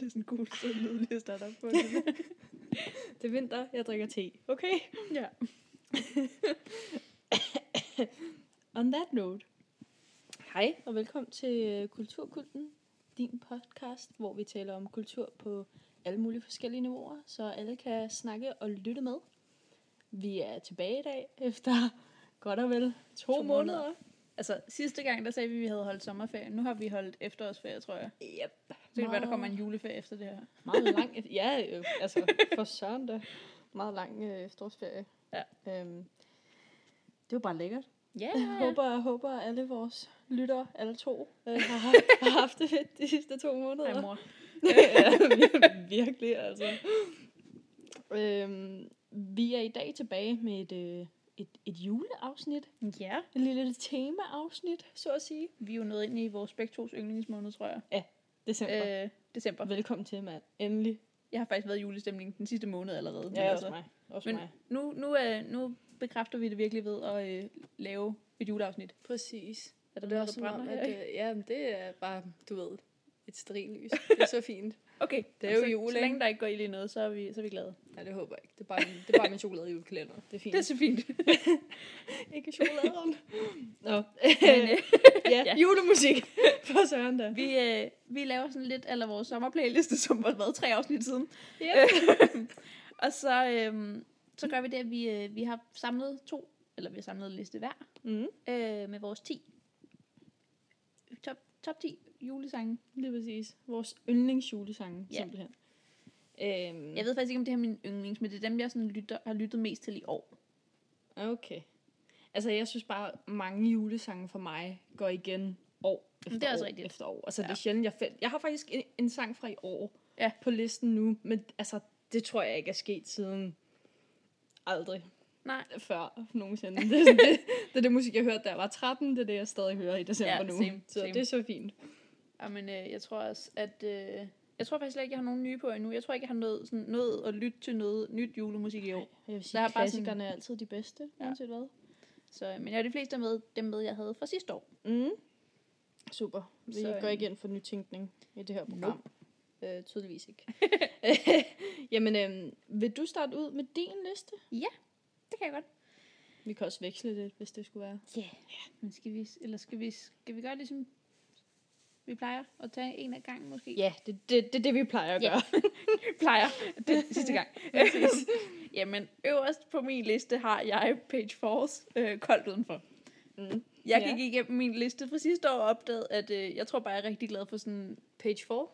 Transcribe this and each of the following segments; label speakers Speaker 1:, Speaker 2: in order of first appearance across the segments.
Speaker 1: Det er sådan en god sød lyd, lige at starte op på. Det.
Speaker 2: Det er vinter, jeg drikker te. Okay?
Speaker 1: ja.
Speaker 2: On that note. Hej, og velkommen til øh, Kulturkulten, din podcast, hvor vi taler om kultur på alle mulige forskellige niveauer, så alle kan snakke og lytte med. Vi er tilbage i dag efter godt og vel to,
Speaker 1: To
Speaker 2: to
Speaker 1: måneder.
Speaker 2: måneder. måneder.
Speaker 1: Altså, sidste gang, der sagde vi, at vi havde holdt sommerferie. Nu har vi holdt efterårsferie, tror jeg.
Speaker 2: Yep.
Speaker 1: Så kan det være, der kommer en juleferie efter det her.
Speaker 2: Meget lang, ja, øh, altså for søren da. Meget lang øh, efterårsferie.
Speaker 1: Ja.
Speaker 2: Øhm, det var bare lækkert.
Speaker 1: Ja.
Speaker 2: Jeg håber, jeg håber at alle vores lyttere, alle to, øh, har, haft, har haft det fedt de sidste to måneder.
Speaker 1: Hej, mor.
Speaker 2: ja, vir- virkelig, altså. Øhm, vi er i dag tilbage med et, øh, et, et juleafsnit.
Speaker 1: Ja.
Speaker 2: Et lille temaafsnit, så at sige.
Speaker 1: Vi er jo nået ind i vores begge tos yndlingsmåned, tror jeg.
Speaker 2: December. Øh.
Speaker 1: Øh, december.
Speaker 2: Velkommen til, mand. Endelig.
Speaker 1: Jeg har faktisk været i julestemning den sidste måned allerede. men
Speaker 2: Ja, også mig. Også
Speaker 1: men
Speaker 2: mig.
Speaker 1: nu, nu, øh, nu bekræfter vi det virkelig ved at øh, lave et juleafsnit.
Speaker 3: Præcis.
Speaker 1: Er der
Speaker 3: Det er
Speaker 1: noget,
Speaker 3: også
Speaker 1: der
Speaker 3: som om,
Speaker 1: brænder her?
Speaker 3: at øh, ja, men det er bare, du ved, et sterillys. Det er så fint.
Speaker 1: Okay,
Speaker 3: det er jo
Speaker 1: så,
Speaker 3: jul,
Speaker 1: Så
Speaker 3: ikke?
Speaker 1: længe der ikke går ild i noget, så er vi, så er vi glade.
Speaker 3: Nej, det håber jeg ikke. Det er bare, min- det er bare min chokolade julekalender. Det er fint.
Speaker 1: Det er så fint.
Speaker 2: Ikke chokoladen. Nå.
Speaker 1: Men, øh,
Speaker 2: ja.
Speaker 1: Ja.
Speaker 2: ja. Julemusik. For søren da.
Speaker 1: vi, øh, vi laver sådan lidt af vores sommerplayliste, som har været tre afsnit siden.
Speaker 2: Ja.
Speaker 1: Og så, øh, så gør vi det, at vi, øh, vi har samlet to, eller vi har samlet en liste hver,
Speaker 2: Mm.
Speaker 1: øh, med vores 10. Top, top 10 julesange.
Speaker 2: Lige præcis. Vores yndlingsjulesange,
Speaker 1: Ja.
Speaker 2: ja. simpelthen. Øhm,
Speaker 1: Jeg ved faktisk ikke, om det her er min yndlings, men det er dem, jeg sådan lytter, har lyttet mest til i år.
Speaker 2: Okay. Altså, jeg synes bare, mange julesange for mig går igen år efter
Speaker 1: det er også
Speaker 2: år
Speaker 1: rigtigt.
Speaker 2: efter år. Altså, ja. det
Speaker 1: Ja.
Speaker 2: er sjældent, jeg find... Jeg har faktisk en, en sang fra i år
Speaker 1: Ja.
Speaker 2: på listen nu, men altså, det tror jeg ikke er sket siden aldrig
Speaker 1: Nej.
Speaker 2: før nogensinde. Det er, sådan, det, det, er det musik, jeg hørte, da jeg var 13. Det er det, jeg stadig hører i december
Speaker 1: Ja,
Speaker 2: nu.
Speaker 1: same,
Speaker 2: så
Speaker 1: same.
Speaker 2: det er så fint.
Speaker 1: Jamen, øh, jeg tror også, at... Øh, jeg tror faktisk slet ikke, jeg har nogen nye på endnu. Jeg tror ikke, jeg har nået, sådan, nået at lytte til noget nyt julemusik i år.
Speaker 2: Jeg vil
Speaker 1: sige, klassikerne
Speaker 2: er altid de bedste,
Speaker 1: uanset
Speaker 2: hvad.
Speaker 1: Så, øh, men jeg har de fleste med, dem med, jeg havde fra sidste år.
Speaker 2: Mm. Super. Vi
Speaker 1: Så,
Speaker 2: går
Speaker 1: øhm,
Speaker 2: igen for nytænkning i det her program. Øh, tydeligvis ikke. Jamen, øh, vil du starte ud med din liste?
Speaker 1: Det kan jeg godt.
Speaker 2: Vi kan også veksle lidt, hvis det skulle være.
Speaker 1: Ja. Yeah. Men skal vi, eller skal vi, skal vi gøre det, som vi plejer? At tage en af gangen måske?
Speaker 2: Ja, det er det, det, det, vi plejer at
Speaker 1: Ja.
Speaker 2: gøre.
Speaker 1: plejer. Det er sidste gang. Jamen, øverst på min liste har jeg Page Force øh, koldt udenfor.
Speaker 2: Mm.
Speaker 1: Jeg
Speaker 2: Ja.
Speaker 1: gik igennem min liste fra sidste år og opdagede, at øh, jeg tror bare, jeg er rigtig glad for sådan
Speaker 3: Page 4.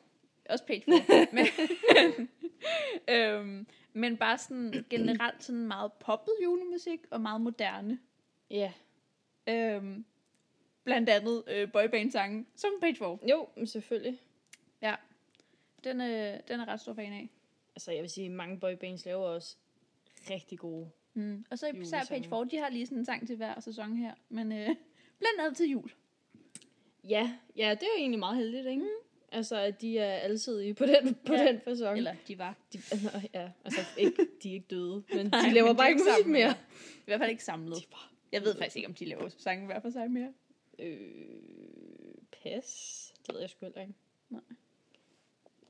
Speaker 1: Også page four. men, øhm, men bare sådan generelt sådan meget poppet julemusik og meget moderne.
Speaker 2: Ja.
Speaker 1: Øhm, blandt andet øh, boyband-sangen som page four.
Speaker 2: Jo, men selvfølgelig.
Speaker 1: Den, øh, den er ret stor fan af.
Speaker 2: Altså, jeg vil sige, mange boybands laver også rigtig gode.
Speaker 1: Mm. Og så især
Speaker 2: Julesange.
Speaker 1: page four, de har lige sådan en sang til hver sæson her. Men øh, blandt andet til jul.
Speaker 2: Ja, ja det er jo egentlig meget heldigt, ikke? Mm. Altså, at de er alsidige på den, på
Speaker 1: Ja.
Speaker 2: den fasong.
Speaker 1: Eller de var.
Speaker 2: De, nå, ja, altså, ikke, de er ikke døde, men
Speaker 1: Nej,
Speaker 2: de laver
Speaker 1: men
Speaker 2: bare
Speaker 1: er
Speaker 2: ikke musik
Speaker 1: samlet.
Speaker 2: mere.
Speaker 1: I hvert fald ikke samlet.
Speaker 2: De er bare
Speaker 1: Jeg ved faktisk ikke, om de laver sange hver for sig mere.
Speaker 2: Øh, pas. Det ved jeg sgu heller ikke.
Speaker 1: Nej.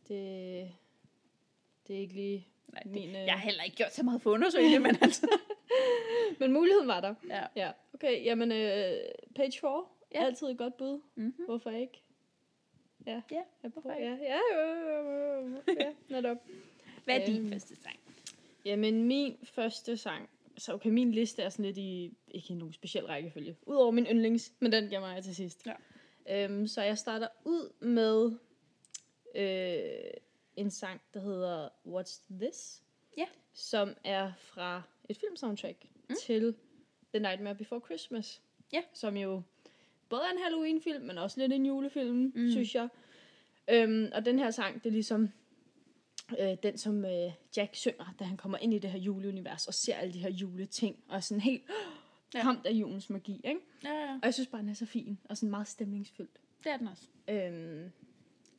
Speaker 2: Det, det er ikke lige
Speaker 1: Nej, det,
Speaker 2: min... Øh...
Speaker 1: jeg har heller ikke gjort så meget for at undersøge det, men altså.
Speaker 2: Men muligheden var der.
Speaker 1: Ja.
Speaker 2: ja. Okay, jamen øh, page 4.
Speaker 1: Ja.
Speaker 2: Ja. Altid et godt bud.
Speaker 1: Mm-hmm.
Speaker 2: Hvorfor ikke? Ja.
Speaker 1: Ja,
Speaker 2: jeg
Speaker 1: hvorfor
Speaker 2: prøver. Ja, ja, ja, ja, ja, netop.
Speaker 1: Hvad er din
Speaker 2: Øhm.
Speaker 1: første sang?
Speaker 2: Jamen, min første sang. Så okay, min liste er sådan lidt i, ikke i nogen speciel rækkefølge. Udover min yndlings, men den gemmer jeg til sidst.
Speaker 1: Ja.
Speaker 2: Øhm, så jeg starter ud med øh, en sang, der hedder What's This?
Speaker 1: Ja.
Speaker 2: Som er fra et filmsoundtrack
Speaker 1: Mm.
Speaker 2: mm. til The Nightmare Before Christmas.
Speaker 1: Ja.
Speaker 2: Som jo både er en Halloween-film, men også lidt en julefilm,
Speaker 1: Mm.
Speaker 2: mm. synes jeg. Øhm, og den her sang, det er ligesom øh, den, som øh, Jack synger, da han kommer ind i det her juleunivers og ser alle de her juleting, og er sådan helt
Speaker 1: Ja.
Speaker 2: ja. ramt af julens magi, ikke?
Speaker 1: Ja, ja.
Speaker 2: Og jeg synes bare, den er så fin, og sådan meget stemningsfyldt.
Speaker 1: Det er den også.
Speaker 2: Øhm,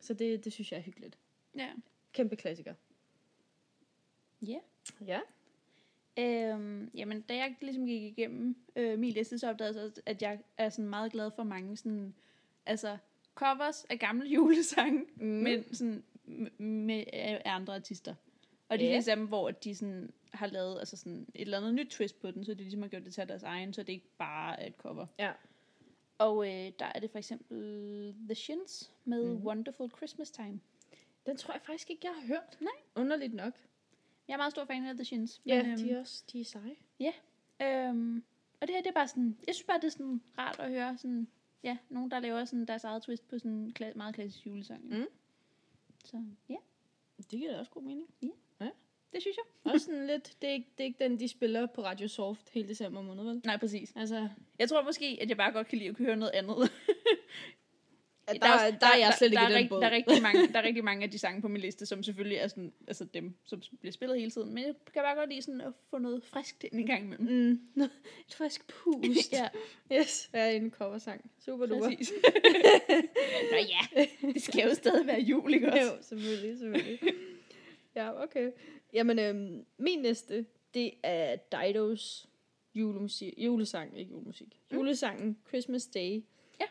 Speaker 2: så det, det synes jeg er hyggeligt.
Speaker 1: Ja.
Speaker 2: Kæmpe klassiker.
Speaker 1: Ja.
Speaker 2: Ja.
Speaker 1: Øhm, jamen, da jeg ligesom gik igennem øh, min liste, så opdagede jeg så, at jeg er sådan meget glad for mange sådan, altså covers af gamle julesange, mm. men sådan m- med af andre artister. Og de
Speaker 2: Ja.
Speaker 1: yeah. fleste af dem, hvor de sådan har lavet altså sådan et eller andet nyt twist på den, så de ligesom har gjort det til deres egen, så det ikke bare er et cover.
Speaker 2: Ja.
Speaker 1: Og øh, der er det for eksempel The Shins med
Speaker 2: Mhm.
Speaker 1: mm-hmm. Wonderful Christmas Time.
Speaker 2: Den tror jeg faktisk ikke, jeg har hørt.
Speaker 1: Nej.
Speaker 2: Underligt nok.
Speaker 1: Jeg er meget stor fan af The Shins.
Speaker 2: Ja,
Speaker 1: men,
Speaker 2: de er også de er seje.
Speaker 1: Øhm, og det her, det er bare sådan, jeg synes bare, det er sådan rart at høre sådan, ja, nogen, der laver sådan deres eget twist på sådan en kla- meget klassisk julesang. jo.
Speaker 2: Mm.
Speaker 1: Så ja,
Speaker 2: Det giver da også god mening.
Speaker 1: det synes jeg.
Speaker 2: Også sådan lidt, det er, ikke, det er ikke den, de spiller på Radio Soft hele december måned, vel?
Speaker 1: Nej, præcis.
Speaker 2: Altså,
Speaker 1: Jeg tror måske, at jeg bare godt kan lide at høre noget andet.
Speaker 2: der, der, der, er jeg slet
Speaker 1: der,
Speaker 2: ikke i
Speaker 1: der,
Speaker 2: den
Speaker 1: rigt-
Speaker 2: båd.
Speaker 1: der, er rigtig mange, der er rigtig mange af de sange på min liste, som selvfølgelig er sådan, altså dem, som bliver spillet hele tiden. Men jeg kan bare godt lide sådan at få noget friskt ind en gang imellem.
Speaker 2: Mm. Et frisk pust.
Speaker 1: ja,
Speaker 2: Yes, jeg er en coversang. Super duper.
Speaker 1: præcis. Nå ja, det skal jo stadig være jul, ikke også?
Speaker 2: Jo, selvfølgelig, selvfølgelig. ja, okay. Jamen, øhm, min næste, det er Didos julemusik, julesang, ikke julemusik, julesangen Christmas Day.
Speaker 1: Mm. Ja.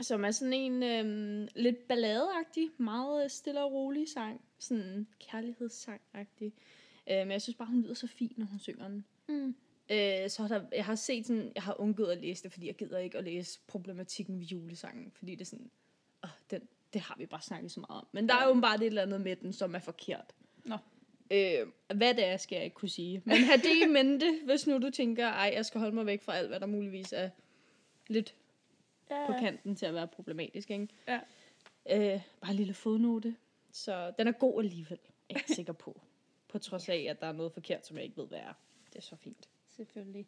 Speaker 2: Som er sådan en øhm, lidt balladeagtig, meget øh, stille og rolig sang. Sådan en kærlighedssang-agtig. Øh, men jeg synes bare, hun lyder så fin, når hun synger den.
Speaker 1: Mm.
Speaker 2: Øh, så har der, jeg har set sådan, jeg har undgået at læse det, fordi jeg gider ikke at læse problematikken ved julesangen, fordi det er sådan, åh, den, det har vi bare snakket så meget om. Men der er jo bare et eller andet med den, som er forkert.
Speaker 1: Nå.
Speaker 2: Øh, hvad det er, skal jeg ikke kunne sige. Men have det i mente, hvis nu du tænker, ej, jeg skal holde mig væk fra alt, hvad der muligvis er lidt
Speaker 1: Ja.
Speaker 2: på kanten til at være problematisk, ikke?
Speaker 1: Ja.
Speaker 2: Øh, bare en lille fodnote. Så den er god alligevel, er jeg sikker på. På trods af, at der er noget forkert, som jeg ikke ved, hvad er. Det er så fint.
Speaker 1: Selvfølgelig.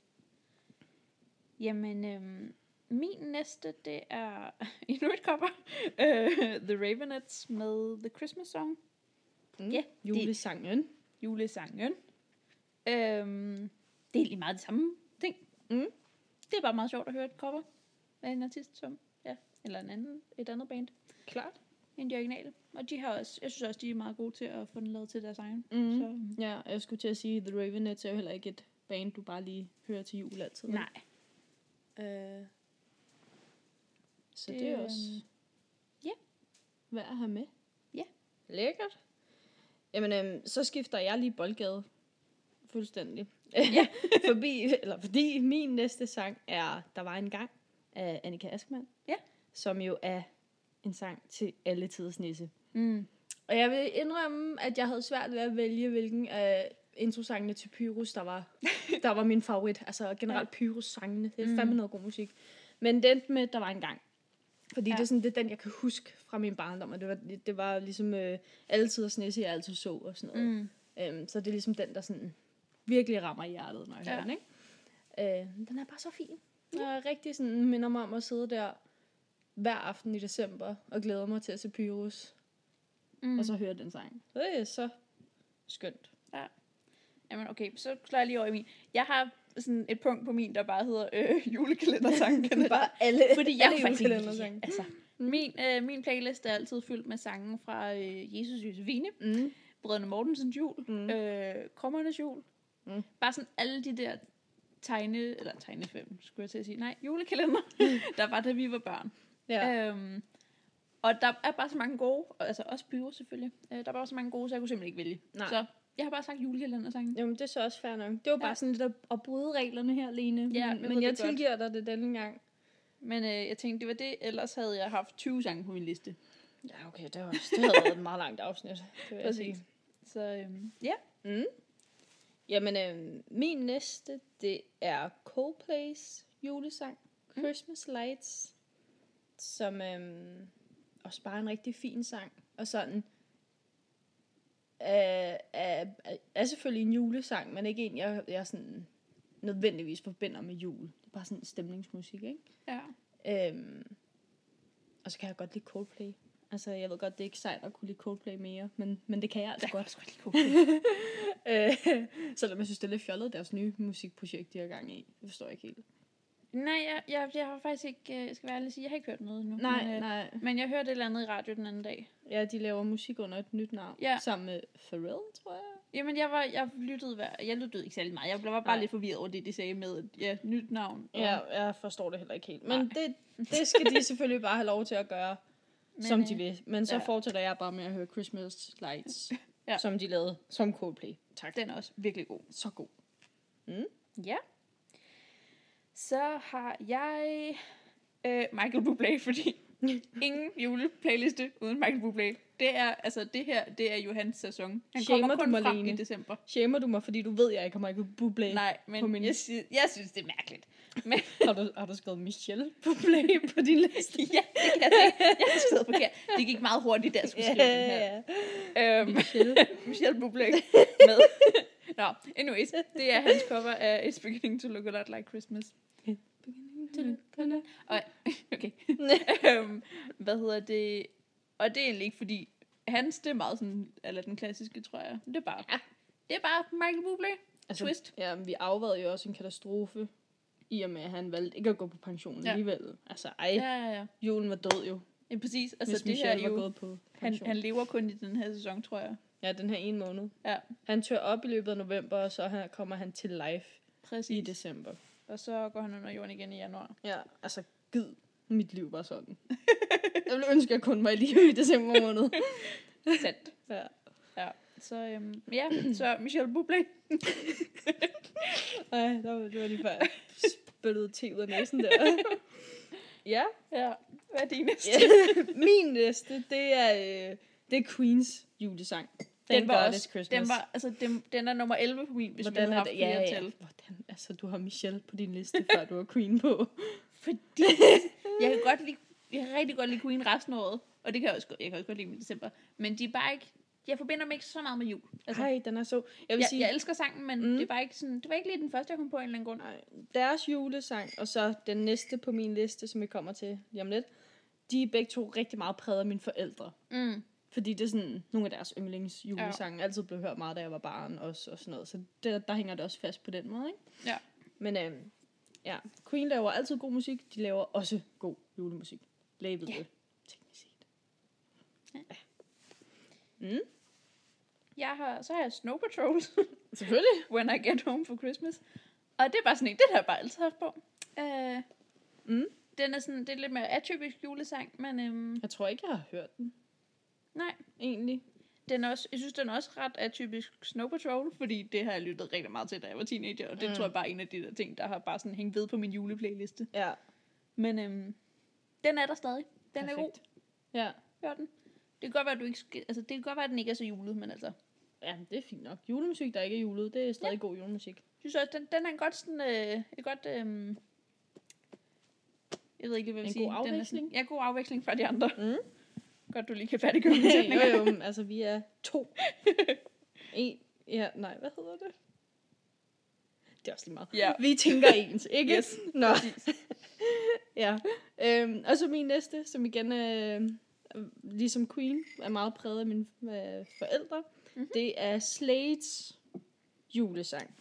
Speaker 1: Jamen, øhm, min næste, det er endnu et cover. Øh, The Ravenets med The Christmas Song.
Speaker 2: Mm.
Speaker 1: Ja,
Speaker 2: Julesangen.
Speaker 1: Julesangen. Øhm, det er egentlig meget det samme ting.
Speaker 2: Mm.
Speaker 1: Det er bare meget sjovt at høre et cover af en artist som, ja, eller en anden, et andet band
Speaker 2: Klart.
Speaker 1: end de originale. Og de har også, jeg synes også, de er meget gode til at få den lavet til deres egen.
Speaker 2: Mm.
Speaker 1: Så, øhm,
Speaker 2: Ja, og jeg skulle til at sige, The Ravenets er jo heller ikke et band, du bare lige hører til jul altid. vel?
Speaker 1: nej.
Speaker 3: Øh,
Speaker 2: Så
Speaker 1: det,
Speaker 2: det, det er
Speaker 1: øhm,
Speaker 2: også
Speaker 1: ja.
Speaker 2: værd at have med.
Speaker 1: Ja.
Speaker 2: Lækkert. Jamen, øhm, så skifter jeg lige boldgade. Fuldstændig.
Speaker 1: Ja.
Speaker 2: Forbi, eller fordi min næste sang er Der var en gang af Annika Askmann.
Speaker 1: Ja.
Speaker 2: Som jo er en sang til alle tiders nisse.
Speaker 1: Mm.
Speaker 2: Og jeg vil indrømme, at jeg havde svært ved at vælge, hvilken af introsangene til Pyrus, der var, der var min favorit. Altså generelt Pyrus-sangene. Det er
Speaker 1: Mm.
Speaker 2: fandme noget god musik. Men den med, der var en gang. Fordi ja.
Speaker 1: Ja.
Speaker 2: det er sådan, det er den, jeg kan huske fra min barndom. Og det var, det var ligesom øh, altid og snisse, jeg altid så og sådan noget.
Speaker 1: Mm.
Speaker 2: Mm. Øhm, så det er ligesom den, der sådan virkelig rammer hjertet, når jeg
Speaker 1: Ja.
Speaker 2: ja. Mm. hører den, ikke? Øh, den er bare så fin. Jeg er rigtig sådan, minder mig om at sidde der hver aften i december og glæder mig til at se Pyrus
Speaker 1: Mm.
Speaker 2: og så høre den sang. Det er så skønt.
Speaker 1: Jamen okay, så klarer jeg lige over i min. Jeg har sådan et punkt på min, der bare hedder øh, julekalendersangen. kan bare.
Speaker 2: alle,
Speaker 1: Fordi jeg er faktisk ikke lide- altså, min, øh, min playlist er altid fyldt med sange fra øh, Jesus Josefine,
Speaker 2: Mm.
Speaker 1: Brødrene Mortensens jul,
Speaker 2: Mm.
Speaker 1: mm. øh, Krummernes jul.
Speaker 2: Mm.
Speaker 1: Mm. Bare sådan alle de der tegne, eller tegnefilm, skulle jeg til at sige. Nej, julekalender, der var da vi var børn.
Speaker 2: Ja.
Speaker 1: Ja. Øhm, og der er bare så mange gode, og altså også pyro selvfølgelig. Øh, der var bare så mange gode, så jeg kunne simpelthen ikke vælge.
Speaker 2: Nej.
Speaker 1: Så jeg har bare sagt julekalendersangen.
Speaker 2: Jamen, det er så også fair nok. Det var bare
Speaker 1: Ja.
Speaker 2: sådan lidt at, at bryde reglerne her, Lene.
Speaker 1: Ja, jeg
Speaker 2: men,
Speaker 1: ved
Speaker 2: men jeg
Speaker 1: det godt.
Speaker 2: tilgiver dig det denne gang.
Speaker 1: Men øh, jeg tænkte, det var det. Ellers havde jeg haft 20 sange på min liste.
Speaker 2: Ja, okay, det, var, det havde været et meget langt afsnit. Det vil jeg
Speaker 1: Præcis.
Speaker 2: sige.
Speaker 1: Så øhm, ja.
Speaker 2: Mm. Jamen, øh, min næste, det er Coldplay's julesang, Christmas Lights, som øh, også bare er en rigtig fin sang. Og sådan, øh, er, er, er selvfølgelig en julesang, men ikke en, jeg, jeg sådan nødvendigvis forbinder med jul. Det er bare sådan stemningsmusik, ikke?
Speaker 1: ja.
Speaker 2: Øhm, og så kan jeg godt lide Coldplay. Altså, jeg ved godt, det er ikke sejt at kunne lide Coldplay mere, men, men det kan jeg altså godt.
Speaker 1: godt lide Coldplay.
Speaker 2: Øh, selvom jeg synes, det er lidt fjollet, deres nye musikprojekt, de har gang i. Det forstår jeg ikke helt.
Speaker 1: Nej, jeg, jeg, jeg har faktisk ikke, øh, jeg skal være ærlig og sige, jeg har ikke hørt noget endnu. men,
Speaker 2: Nej,
Speaker 1: øh,
Speaker 2: nej.
Speaker 1: Men jeg hørte et eller andet i radio den anden dag.
Speaker 2: Ja, de laver musik under et nyt navn.
Speaker 1: Ja.
Speaker 2: Sammen med Pharrell, tror jeg.
Speaker 1: Jamen, jeg, var, jeg, lyttede, hver- jeg lyttede ikke særlig meget. Jeg var bare
Speaker 2: Nej.
Speaker 1: lidt forvirret over det, de sagde med et ja, nyt navn. og-
Speaker 2: Ja, jeg forstår det heller ikke helt. Men
Speaker 1: Nej.
Speaker 2: det, det skal de selvfølgelig bare have lov til at gøre.
Speaker 1: Men,
Speaker 2: som de vil. Men øh, så
Speaker 1: ja.
Speaker 2: fortsætter jeg bare med at høre Christmas Lights,
Speaker 1: Ja.
Speaker 2: ja. som de lavede som Coldplay. Tak.
Speaker 1: Den er også virkelig god.
Speaker 2: Så god.
Speaker 1: Ja. Så har jeg øh, Michael Bublé, fordi ingen juleplayliste uden Michael Bublé. Det er, altså det her, det er jo hans sæson. Han
Speaker 2: Shamer
Speaker 1: kommer
Speaker 2: du
Speaker 1: kun
Speaker 2: mig,
Speaker 1: frem i
Speaker 2: Lene?
Speaker 1: december.
Speaker 2: Shamer du mig, fordi du ved, jeg ikke har Michael Bublé?
Speaker 1: Nej,
Speaker 2: Øh, på
Speaker 1: men
Speaker 2: min-
Speaker 1: jeg, sy- jeg synes, det er mærkeligt. Men
Speaker 2: Har du, har du skrevet Michelle Bublé på din liste?
Speaker 1: ja, det kan jeg se. Jeg har skrevet forkert. Det gik meget hurtigt, da jeg skulle skrive den her. Øhm,
Speaker 2: Michelle.
Speaker 1: Michelle Bublé med. Nå, anyways, det er hans cover af It's Beginning to Look a Lot Like Christmas. Og, okay. øhm, hvad hedder det? Og det er egentlig ikke, fordi hans, det er meget sådan, eller den klassiske, tror jeg. Det er bare,
Speaker 2: Ja.
Speaker 1: det er bare Michael Bublé.
Speaker 2: Altså,
Speaker 1: Twist.
Speaker 2: Ja, men vi afværede jo også en katastrofe, i og med, at han valgte ikke at gå på pension
Speaker 1: Ja.
Speaker 2: ja. alligevel. Altså, ej, ja.
Speaker 1: Ja, ja, ja.
Speaker 2: julen var død jo,
Speaker 1: ja præcis. Altså,
Speaker 2: altså, hvis
Speaker 1: det her
Speaker 2: Michelle
Speaker 1: er
Speaker 2: var
Speaker 1: jo,
Speaker 2: gået på
Speaker 1: han,
Speaker 2: pension.
Speaker 1: han lever kun i den her sæson, tror jeg.
Speaker 2: ja, den her ene måned.
Speaker 1: Ja.
Speaker 2: Han tør op i løbet af november, og så her kommer han til live i
Speaker 1: Præcis.
Speaker 2: december.
Speaker 1: Og så går han under jorden igen i januar.
Speaker 2: Ja, altså, gid mit liv var sådan. jeg ville ønske, at jeg kun var i live i december måned.
Speaker 1: Sandt.
Speaker 2: Ja.
Speaker 1: Så øhm, ja, så Michelle Bublé.
Speaker 2: Ej, der var, det var lige bare spyttet te ud af næsen der. ja.
Speaker 1: Ja, hvad er din næste?
Speaker 2: Ja. Min næste, det er, øh, det er Queens julesang. Thank
Speaker 1: Den var
Speaker 2: God
Speaker 1: også,
Speaker 2: It's Christmas.
Speaker 1: den, var, altså, den, den er nummer 11 på min, hvis Hvordan vi
Speaker 2: Hvordan
Speaker 1: havde
Speaker 2: er
Speaker 1: haft
Speaker 2: det?
Speaker 1: flere
Speaker 2: Ja, ja.
Speaker 1: til.
Speaker 2: Hvordan? Altså, du har Michelle på din liste, før du har Queen på.
Speaker 1: Fordi jeg kan godt lide, jeg kan rigtig godt lide Queen resten af året. Og det kan jeg også, godt- jeg kan også godt lide dem i december. Men de er bare ikke, jeg forbinder dem ikke så meget med jul.
Speaker 2: Altså,
Speaker 1: Altså,
Speaker 2: Ej, den er så... Jeg vil
Speaker 1: jeg,
Speaker 2: sige,
Speaker 1: jeg, elsker sangen, men
Speaker 2: Mm.
Speaker 1: det, er bare ikke sådan, det var ikke lige den første, jeg kom på af en eller anden grund.
Speaker 2: nej, deres julesang, og så den næste på min liste, som vi kommer til lige om lidt, de er begge to rigtig meget præget af mine forældre.
Speaker 1: Mm.
Speaker 2: Fordi det er sådan nogle af deres yndlings julesange. Altid blev hørt meget, da jeg var barn også, og sådan noget. Så der, der hænger det også fast på den måde, ikke?
Speaker 1: Ja.
Speaker 2: Men øhm, ja, Queen laver altid god musik. De laver også god julemusik. Label
Speaker 1: Ja.
Speaker 2: det, teknisk set.
Speaker 1: Ja.
Speaker 2: Ja. Mm,
Speaker 1: Jeg har, så har jeg Snow Patrol,
Speaker 2: selvfølgelig.
Speaker 1: When I Get Home for Christmas. Og det er bare sådan en, den har jeg bare altid haft på. Øh,
Speaker 2: Mm.
Speaker 1: Den er sådan, det er lidt mere atypisk julesang, men øhm,
Speaker 2: Jeg tror ikke, jeg har hørt den.
Speaker 1: Nej.
Speaker 2: Egentlig.
Speaker 1: den er også, jeg synes, den er også ret atypisk Snow Patrol, fordi det har jeg lyttet rigtig meget til, da jeg var teenager, og det mm.
Speaker 2: Mm.
Speaker 1: tror jeg bare er en af de der ting, der har bare sådan hængt ved på min juleplayliste.
Speaker 2: Ja.
Speaker 1: Men øhm, den er der stadig. Den Perfekt. er god.
Speaker 2: Ja.
Speaker 1: Hør den. Det kan godt være, at du ikke skal, altså, det kan godt være, at den ikke er så julet, men altså,
Speaker 2: ja, det er fint nok. Julemusik, der ikke er julet, det er stadig ja. god julemusik.
Speaker 1: jeg synes også, den, den er en godt sådan, øh, et godt, øh, jeg ved ikke, lige, hvad jeg vil
Speaker 2: En
Speaker 1: sige.
Speaker 2: god
Speaker 1: Den er
Speaker 2: afveksling?
Speaker 1: Sådan, ja, god afveksling fra de andre.
Speaker 2: Mm.
Speaker 1: Godt, du lige kan færdiggøre min sætning.
Speaker 2: jo, jo, men altså vi er to. en, ja, nej, hvad hedder det? Det er også lige meget.
Speaker 1: Ja.
Speaker 2: Vi tænker ens, ikke?
Speaker 1: Yes,
Speaker 2: Nå. ja. Øhm, og så min næste, som igen, øh, ligesom Queen, er meget præget af mine øh, forældre.
Speaker 1: Mhm.
Speaker 2: Mm-hmm. Det er Slades julesang,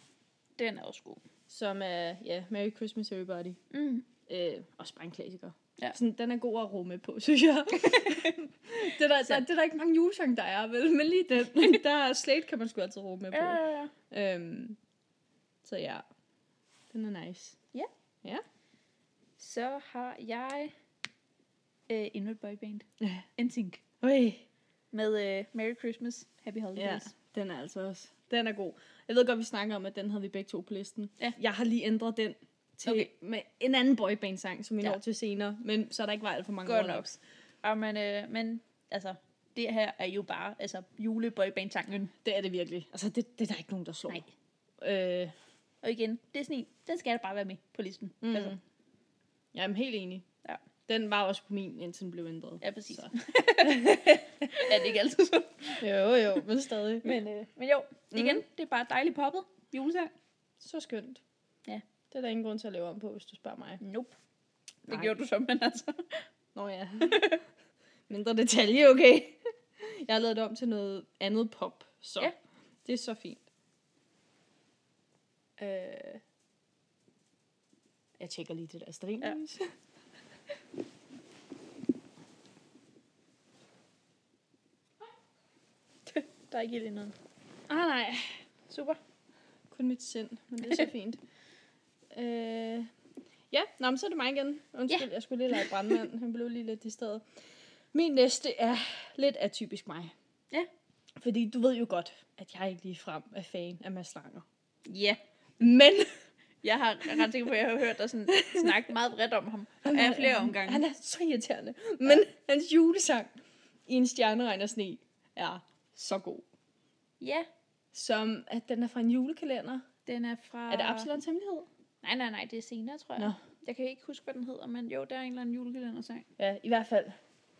Speaker 1: Den er også god.
Speaker 2: som er, ja, Merry Christmas Everybody.
Speaker 1: Mm.
Speaker 2: Øh, også bare en klassiker.
Speaker 1: Ja.
Speaker 2: Ja. Sådan, den er god at rumme på, synes jeg. det, er der, der,
Speaker 1: Sandt.
Speaker 2: Altså, det er der ikke mange julesang, der er, vel? Men lige den. der er Slate, kan man sgu altid rumme på.
Speaker 1: Ja, ja, ja.
Speaker 2: Øhm, så ja, den er nice.
Speaker 1: Så har jeg øh, endnu et boyband.
Speaker 2: Ja.
Speaker 1: NSYNC.
Speaker 2: Øj,
Speaker 1: Med øh, Merry Christmas, Happy
Speaker 2: ja,
Speaker 1: Holidays.
Speaker 2: den er altså også. Den er god. Jeg ved godt, vi snakker om, at den havde vi begge to på listen.
Speaker 1: Ja.
Speaker 2: Jeg har lige ændret den til
Speaker 1: Okay.
Speaker 2: okay. med en anden boyband-sang, som vi
Speaker 1: Ja.
Speaker 2: ja. når til senere. Men så er der ikke var alt for mange
Speaker 1: Godt nok.
Speaker 2: overlaps.
Speaker 1: Og men, øh, men altså, det her er jo bare altså, juleboyband-tanken.
Speaker 2: Det er det virkelig. Altså, det, det er der ikke nogen, der slår.
Speaker 1: Nej.
Speaker 2: Øh,
Speaker 1: Og igen, det er sådan en, den skal der bare være med på listen.
Speaker 2: Mm.
Speaker 1: Altså,
Speaker 2: Altså. Jeg er helt enig.
Speaker 1: Ja.
Speaker 2: Den var også på min, indtil den blev ændret.
Speaker 1: ja, præcis.
Speaker 2: Så.
Speaker 1: er det ikke altid sådan?
Speaker 2: Jo, jo, men stadig.
Speaker 1: Men, øh, men jo, igen, det er bare dejligt poppet. Julesang.
Speaker 2: Så skønt.
Speaker 1: Ja.
Speaker 2: Det er der ingen grund til at lave om på, hvis du spørger mig.
Speaker 1: Nope. Det
Speaker 2: Nej.
Speaker 1: gjorde du så, men altså.
Speaker 2: Nå ja. Mindre detalje, okay? Jeg har lavet det om til noget andet pop, så
Speaker 1: Ja.
Speaker 2: ja. det er så fint. Øh. Jeg tjekker lige det der string.
Speaker 1: Ja.
Speaker 2: Ja.
Speaker 1: Der er ikke helt noget.
Speaker 2: Ah nej,
Speaker 1: Super.
Speaker 2: kun mit sind, men det er så fint. Øh. Ja, nå, men så er det mig igen. Undskyld, ja. jeg skulle lige lege brandmand. Han blev lige lidt i stedet. Min næste er lidt atypisk mig.
Speaker 1: Ja.
Speaker 2: Fordi du ved jo godt, at jeg ikke ligefrem er fan af Mads Langer.
Speaker 1: Ja.
Speaker 2: Men
Speaker 1: Jeg har jeg er ret sikker på, at jeg har hørt dig sådan, snakke meget bredt om ham. Af flere omgange.
Speaker 2: Han er så irriterende. Men hans julesang i en stjerneregn og sne er så god.
Speaker 1: Ja,
Speaker 2: Som at den er fra en julekalender.
Speaker 1: den er fra...
Speaker 2: Er det Absalons hemmelighed?
Speaker 1: Nej, nej, nej, det er senere, tror jeg.
Speaker 2: Nå.
Speaker 1: Jeg kan ikke huske, hvad den hedder, men jo, der er en eller anden julekalendersang.
Speaker 2: Ja, i hvert fald.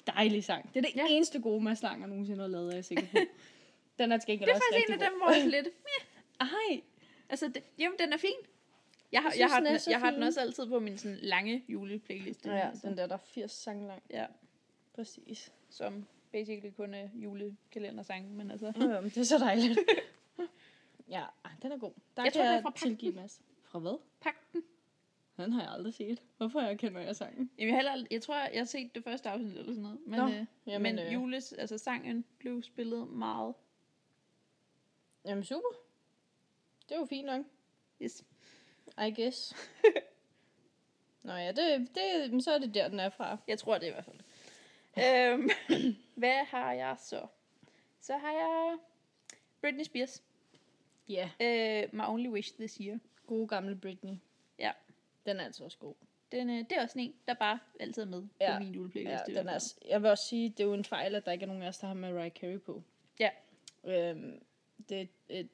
Speaker 2: Dejlig sang. Det er det
Speaker 1: Ja.
Speaker 2: ja. eneste gode, Mads Langer nogensinde har lavet, er jeg sikker på. Den er til gengæld
Speaker 1: Det er
Speaker 2: også
Speaker 1: faktisk en
Speaker 2: rigtig
Speaker 1: af dem, hvor jeg er lidt... meh.
Speaker 2: Ej,
Speaker 1: Altså, det, jamen, den er fin. Jeg har, jeg,
Speaker 2: Jeg
Speaker 1: jeg
Speaker 2: synes,
Speaker 1: har,
Speaker 2: den
Speaker 1: den,
Speaker 2: er så
Speaker 1: jeg har
Speaker 2: fin.
Speaker 1: den også altid på min sådan, lange juleplayliste.
Speaker 2: ja,
Speaker 1: altså,
Speaker 2: den der, der er 80 sange lang.
Speaker 1: ja,
Speaker 2: Præcis.
Speaker 1: som basically kun er julekalendersange, men altså...
Speaker 2: Nå, jo, men det er så dejligt. ja, ej, den er god. Der
Speaker 1: Jeg
Speaker 2: jeg
Speaker 1: tror,
Speaker 2: kan
Speaker 1: den er
Speaker 2: jeg
Speaker 1: fra Pagten.
Speaker 2: tilgive Mads. Fra hvad?
Speaker 1: Pakten.
Speaker 2: Den har jeg aldrig set. Hvorfor har jeg kendt, hvad jeg sangen?
Speaker 1: Jamen, jeg, har heller aldrig- jeg tror, jeg har set det første afsnit eller sådan noget. Men,
Speaker 2: Nå,
Speaker 1: øh,
Speaker 2: jamen,
Speaker 1: men
Speaker 2: øh.
Speaker 1: jules, altså sangen blev spillet meget.
Speaker 2: Jamen super. Det er jo fint nok.
Speaker 1: Yes.
Speaker 2: I guess. Nå ja, det, det, men så er det der, den er fra.
Speaker 1: Jeg tror det i hvert fald. øhm, hvad har jeg så? Så har jeg Britney Spears.
Speaker 2: Ja, yeah.
Speaker 1: Øh, My Only Wish This Year.
Speaker 2: gode gamle Britney.
Speaker 1: Ja.
Speaker 2: Den er altså også god.
Speaker 1: Den, øh, det er også en, der bare altid er med ja.
Speaker 2: Ja.
Speaker 1: på min juleplayliste.
Speaker 2: Ja,
Speaker 1: i
Speaker 2: den
Speaker 1: hvert
Speaker 2: er,
Speaker 1: fald.
Speaker 2: altså- jeg vil også sige, det er jo en fejl, at der ikke er nogen af os, der har Mariah Carey på.
Speaker 1: Ja.
Speaker 2: Øhm, det er et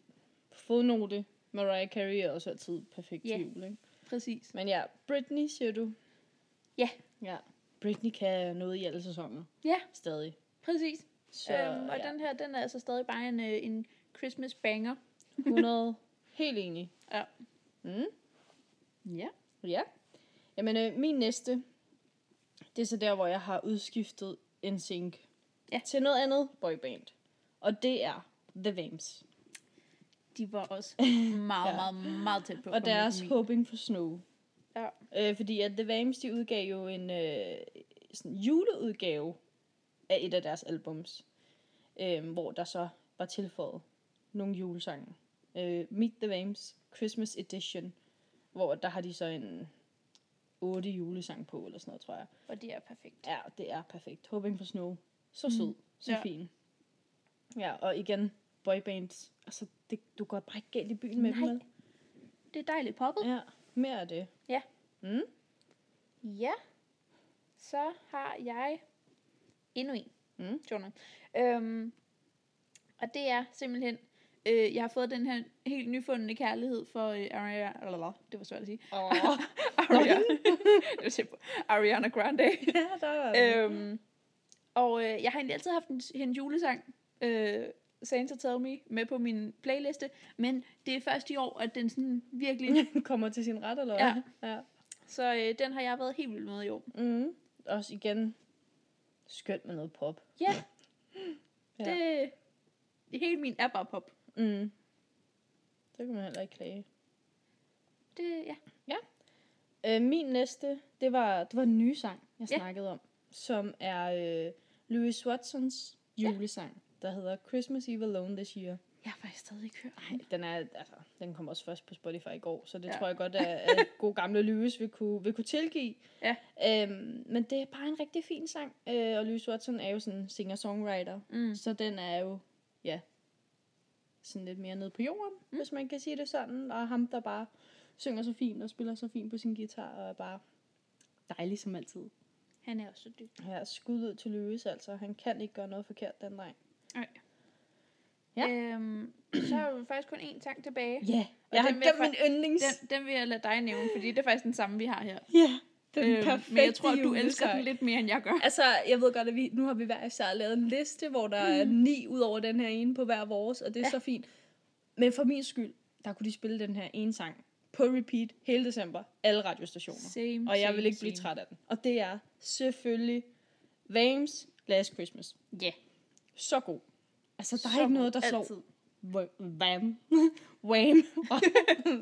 Speaker 2: fodnote. Mariah Carey er også altid perfekt
Speaker 1: Ja.
Speaker 2: til jul, ikke?
Speaker 1: Præcis.
Speaker 2: Men ja, Britney, siger du?
Speaker 1: Ja.
Speaker 2: Ja. Britney kan noget i alle sæsoner.
Speaker 1: Ja.
Speaker 2: Stadig.
Speaker 1: Præcis.
Speaker 2: Så
Speaker 1: Så, øhm, og ja.
Speaker 2: ja,
Speaker 1: den her, den er altså stadig bare en, øh, en Christmas banger.
Speaker 2: 100. Helt enig.
Speaker 1: Ja.
Speaker 2: Mm.
Speaker 1: Ja.
Speaker 2: Ja. Jamen, øh, min næste, det er så der, hvor jeg har udskiftet en sync
Speaker 1: Ja.
Speaker 2: til noget andet boyband. Og det er The Vamps.
Speaker 1: De var også meget,
Speaker 2: Ja.
Speaker 1: meget, meget tæt på. at
Speaker 2: Og
Speaker 1: komme med
Speaker 2: deres
Speaker 1: på min.
Speaker 2: Hoping for Snow.
Speaker 1: Ja.
Speaker 2: Øh, fordi at The Vamps, de udgav jo en øh, sådan juleudgave af et af deres albums. Øh, hvor der så var tilføjet nogle julesange. Øh, Meet The Vamps Christmas Edition. Hvor der har de så en otte julesang på, eller sådan noget, tror jeg.
Speaker 1: Og det er perfekt.
Speaker 2: Ja, det er perfekt. Hoping for Snow. Så sød. Så
Speaker 1: Mm. Ja.
Speaker 2: ja. fin. Ja, og igen, boybands. Altså, det, du går bare ikke galt i byen med
Speaker 1: Nej.
Speaker 2: dem, vel?
Speaker 1: Det er dejligt poppet.
Speaker 2: Ja, mere af det.
Speaker 1: Ja.
Speaker 2: Mm.
Speaker 1: Ja. Så har jeg endnu en.
Speaker 2: Mm.
Speaker 1: Journal. Øhm, og det er simpelthen, øh, jeg har fået den her helt nyfundne kærlighed for øh, Ariana, eller, det var svært at sige,
Speaker 2: Oh.
Speaker 1: Ariana, det var tæt på. Ariana Grande.
Speaker 2: ja, der var den.
Speaker 1: øhm, og øh, jeg har egentlig altid haft en, hendes julesang, øh, Santa Tell Me, med på min playliste, men det er først i år, at den sådan virkelig,
Speaker 2: Kommer til sin ret, eller
Speaker 1: Øh. Ja.
Speaker 2: hvad? ja.
Speaker 1: så øh, den har jeg været helt vild med i år.
Speaker 2: Mm. Også igen, skønt med noget pop.
Speaker 1: Ja,
Speaker 2: Ja.
Speaker 1: det, hele min er bare pop.
Speaker 2: Mm. Det kan man heller ikke klage.
Speaker 1: Det, ja.
Speaker 2: Øh, min næste, det var, det var en ny sang, jeg
Speaker 1: Ja.
Speaker 2: snakkede om, som er øh, Louis Watsons julesang, der hedder Christmas Eve Alone This Year.
Speaker 1: Jeg har faktisk stadig ikke hørt.
Speaker 2: Ej, den, er, altså, den kom også først på Spotify i går, så det
Speaker 1: Ja.
Speaker 2: ja. tror jeg godt, at, at god gamle Lewis vil kunne, vil kunne tilgive.
Speaker 1: Ja.
Speaker 2: Øhm, men det er bare en rigtig fin sang, øh, og Lewis Watson er jo sådan en singer-songwriter,
Speaker 1: Mm.
Speaker 2: mm. så den er jo, ja, sådan lidt mere nede på jorden, mm. hvis man kan sige det sådan, og ham, der bare synger så fint og spiller så fint på sin guitar, og er bare dejlig som altid.
Speaker 1: Han er også så dyb.
Speaker 2: Ja, skud ud til Lewis, altså. Han kan ikke gøre noget forkert, den dreng.
Speaker 1: Ja.
Speaker 2: Ja.
Speaker 1: Øhm, så har vi faktisk kun én sang tilbage.
Speaker 2: Ja, yeah. jeg har
Speaker 1: den vil jeg
Speaker 2: gemt min yndlings.
Speaker 1: Den, den vil jeg lade dig nævne, fordi det er faktisk den samme, vi har her.
Speaker 2: Ja, den øhm, perfekte
Speaker 1: men jeg tror, du elsker
Speaker 2: julesang.
Speaker 1: den lidt mere, end jeg gør.
Speaker 2: Altså, jeg ved godt, at vi, nu har vi hver især lavet en liste, hvor der er ni ud over den her ene på hver vores, og det er
Speaker 1: Mm. Ja.
Speaker 2: ja. så fint. Men for min skyld, der kunne de spille den her ene sang på repeat hele december, alle radiostationer.
Speaker 1: Same,
Speaker 2: og jeg
Speaker 1: same,
Speaker 2: vil ikke blive
Speaker 1: same.
Speaker 2: træt af den. Og det er selvfølgelig Vames Last Christmas.
Speaker 1: Ja.
Speaker 2: Så god. Altså, der
Speaker 1: Så
Speaker 2: er ikke noget,
Speaker 1: god.
Speaker 2: der slår.
Speaker 1: Altid.
Speaker 2: Wh- Wham. Wham.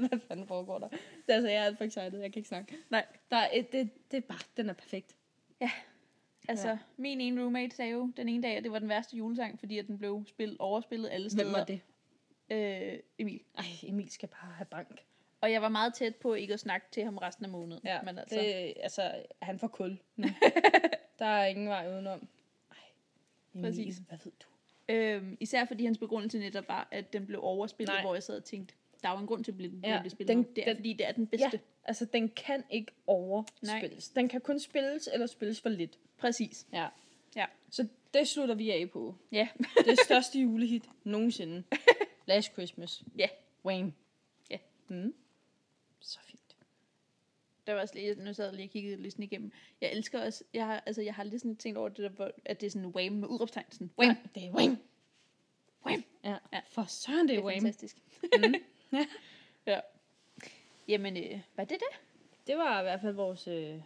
Speaker 2: Hvad fanden foregår der? Altså, jeg er alt for excited. Jeg kan ikke snakke.
Speaker 1: Nej.
Speaker 2: Der er et, det, det er bare, den er perfekt.
Speaker 1: Altså, ja. min ene roommate sagde jo den ene dag, at det var den værste julesang, fordi at den blev spillet, overspillet alle steder.
Speaker 2: Hvem var det?
Speaker 1: Øh, Emil.
Speaker 2: Ej, Emil skal bare have bank.
Speaker 1: Og jeg var meget tæt på ikke at snakke til ham resten af måneden.
Speaker 2: Ja,
Speaker 1: men altså,
Speaker 2: det, altså han får kul nu. der er ingen vej udenom. Ej,
Speaker 1: Præcis.
Speaker 3: Hvad ved du?
Speaker 1: Øhm, især fordi hans begrundelse netop var, at den blev overspillet,
Speaker 2: Nej.
Speaker 1: Nej. hvor jeg sad og tænkte, der er jo en grund til, at den
Speaker 2: Ja,
Speaker 1: ja, blev spillet.
Speaker 2: den-
Speaker 1: Den, det er,
Speaker 2: den-
Speaker 1: fordi det er den
Speaker 2: Ja,
Speaker 1: bedste. Ja.
Speaker 2: altså den kan ikke overspilles. Nej. Den kan kun spilles eller spilles for lidt.
Speaker 1: Præcis.
Speaker 2: Ja.
Speaker 1: Ja.
Speaker 2: Så det slutter vi af på.
Speaker 1: Ja.
Speaker 2: Det største julehit nogensinde. Last Christmas.
Speaker 1: Ja.
Speaker 2: Wham.
Speaker 1: Ja.
Speaker 2: Mm. Så fint.
Speaker 1: Der var også lige, nu sad jeg lige og kiggede listen igennem. Jeg elsker også, jeg har, altså, jeg har lige sådan tænkt over det der, hvor- at det er sådan wham med udråbstegn. Sådan, wham,
Speaker 2: Nej, Det er wham.
Speaker 1: wham.
Speaker 2: Ja.
Speaker 1: Ja.
Speaker 2: For søren, det
Speaker 1: Det
Speaker 2: er
Speaker 1: er
Speaker 2: wham.
Speaker 1: fantastisk.
Speaker 2: Ja.
Speaker 1: Mhm. ja. Jamen, øh, var det det?
Speaker 2: Det var i hvert fald vores, øh,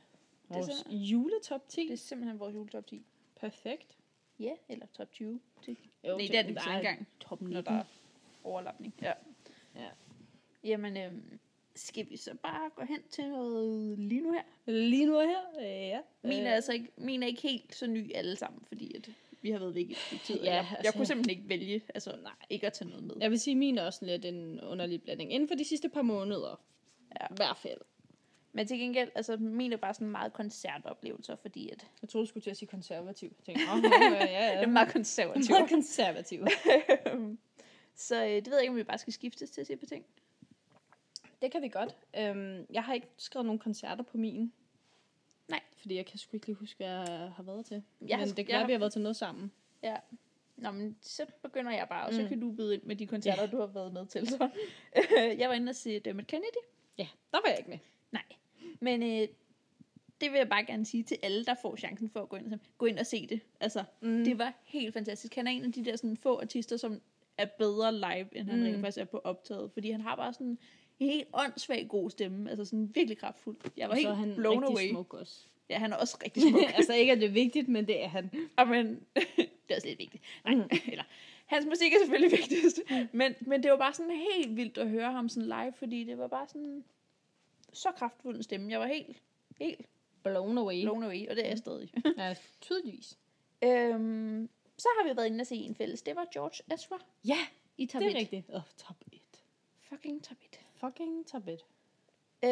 Speaker 2: vores
Speaker 1: så-
Speaker 2: juletop 10.
Speaker 1: Det er simpelthen vores juletop 10.
Speaker 2: Perfekt.
Speaker 1: Ja, eller top 20. Det,
Speaker 2: Jo,
Speaker 1: Nej, det er det ikke engang.
Speaker 2: Top
Speaker 1: Når
Speaker 2: 19.
Speaker 1: der er overlapning. Ja.
Speaker 2: Ja.
Speaker 1: Jamen, øh, skal vi så bare gå hen til noget lige nu her?
Speaker 2: Lige nu her. Øh, ja.
Speaker 1: Min er
Speaker 2: Øh,
Speaker 1: altså ikke, min er ikke helt så ny alle sammen, fordi at vi har været væk i et stykke tid. og
Speaker 2: Ja,
Speaker 1: jeg, altså,
Speaker 2: altså-
Speaker 1: jeg kunne simpelthen ikke vælge, altså nej, ikke at tage noget med.
Speaker 2: Jeg vil sige, min er også lidt en underlig blanding. Inden for de sidste par måneder.
Speaker 1: Ja.
Speaker 2: I hvert fald.
Speaker 1: Men til gengæld, altså min er bare sådan meget koncertoplevelser, fordi at
Speaker 2: Jeg troede, du skulle til at sige konservativ. Jeg tænkte, åh, åh, ja, ja.
Speaker 1: det er meget
Speaker 2: Det
Speaker 1: konservativt.
Speaker 2: er meget konservativ.
Speaker 1: så øh, det ved jeg ikke, om vi bare skal skiftes til at se på ting.
Speaker 2: det kan vi godt. Øhm, jeg har ikke skrevet nogen koncerter på min.
Speaker 1: Nej.
Speaker 2: Fordi jeg kan sgu ikke lige huske, hvad jeg har været til.
Speaker 1: Jeg
Speaker 2: Jeg
Speaker 1: har-
Speaker 2: Men det kan
Speaker 1: jeg
Speaker 2: være,
Speaker 1: har-
Speaker 2: vi har været til noget sammen.
Speaker 1: Nå, men så begynder jeg bare, og så
Speaker 2: Mm.
Speaker 1: mm. kan du byde ind med de koncerter,
Speaker 2: Ja.
Speaker 1: ja. du har været med til. Så. jeg var inde og se Dermot Kennedy.
Speaker 2: Ja, der var jeg ikke med.
Speaker 1: Nej. Men øh, det vil jeg bare gerne sige til alle, der får chancen for at gå ind og, gå ind og se det. Altså,
Speaker 2: Mm.
Speaker 1: mm. det var helt fantastisk. Han er en af de der sådan, få artister, som er bedre live, end han
Speaker 2: Mm.
Speaker 1: mm. rent faktisk er på optaget. Fordi han har bare sådan en helt åndssvag god stemme. Altså sådan virkelig kraftfuld. Jeg var
Speaker 2: Og så
Speaker 1: helt
Speaker 2: er han
Speaker 1: blown
Speaker 2: rigtig
Speaker 1: away. Smuk.
Speaker 2: smuk også.
Speaker 1: Ja, han er også rigtig smuk.
Speaker 2: altså ikke, at det er vigtigt, men det er han. Mm.
Speaker 1: Og men, det er også lidt vigtigt. Nej, eller, hans musik er selvfølgelig vigtigst. Men, men det var bare sådan helt vildt at høre ham sådan live, fordi det var bare sådan så kraftfuld en stemme. Jeg var helt, helt
Speaker 2: Blown away.
Speaker 1: Blown away, og det er jeg stadig.
Speaker 2: Ja, tydeligvis.
Speaker 1: øhm, så har vi været inde og se en fælles. Det var George Ezra
Speaker 2: Ja,
Speaker 1: i top
Speaker 2: det er
Speaker 1: 1.
Speaker 2: rigtigt. Åh, oh, top 1.
Speaker 1: Fucking top 1.
Speaker 2: Fucking top 1.
Speaker 1: Øh,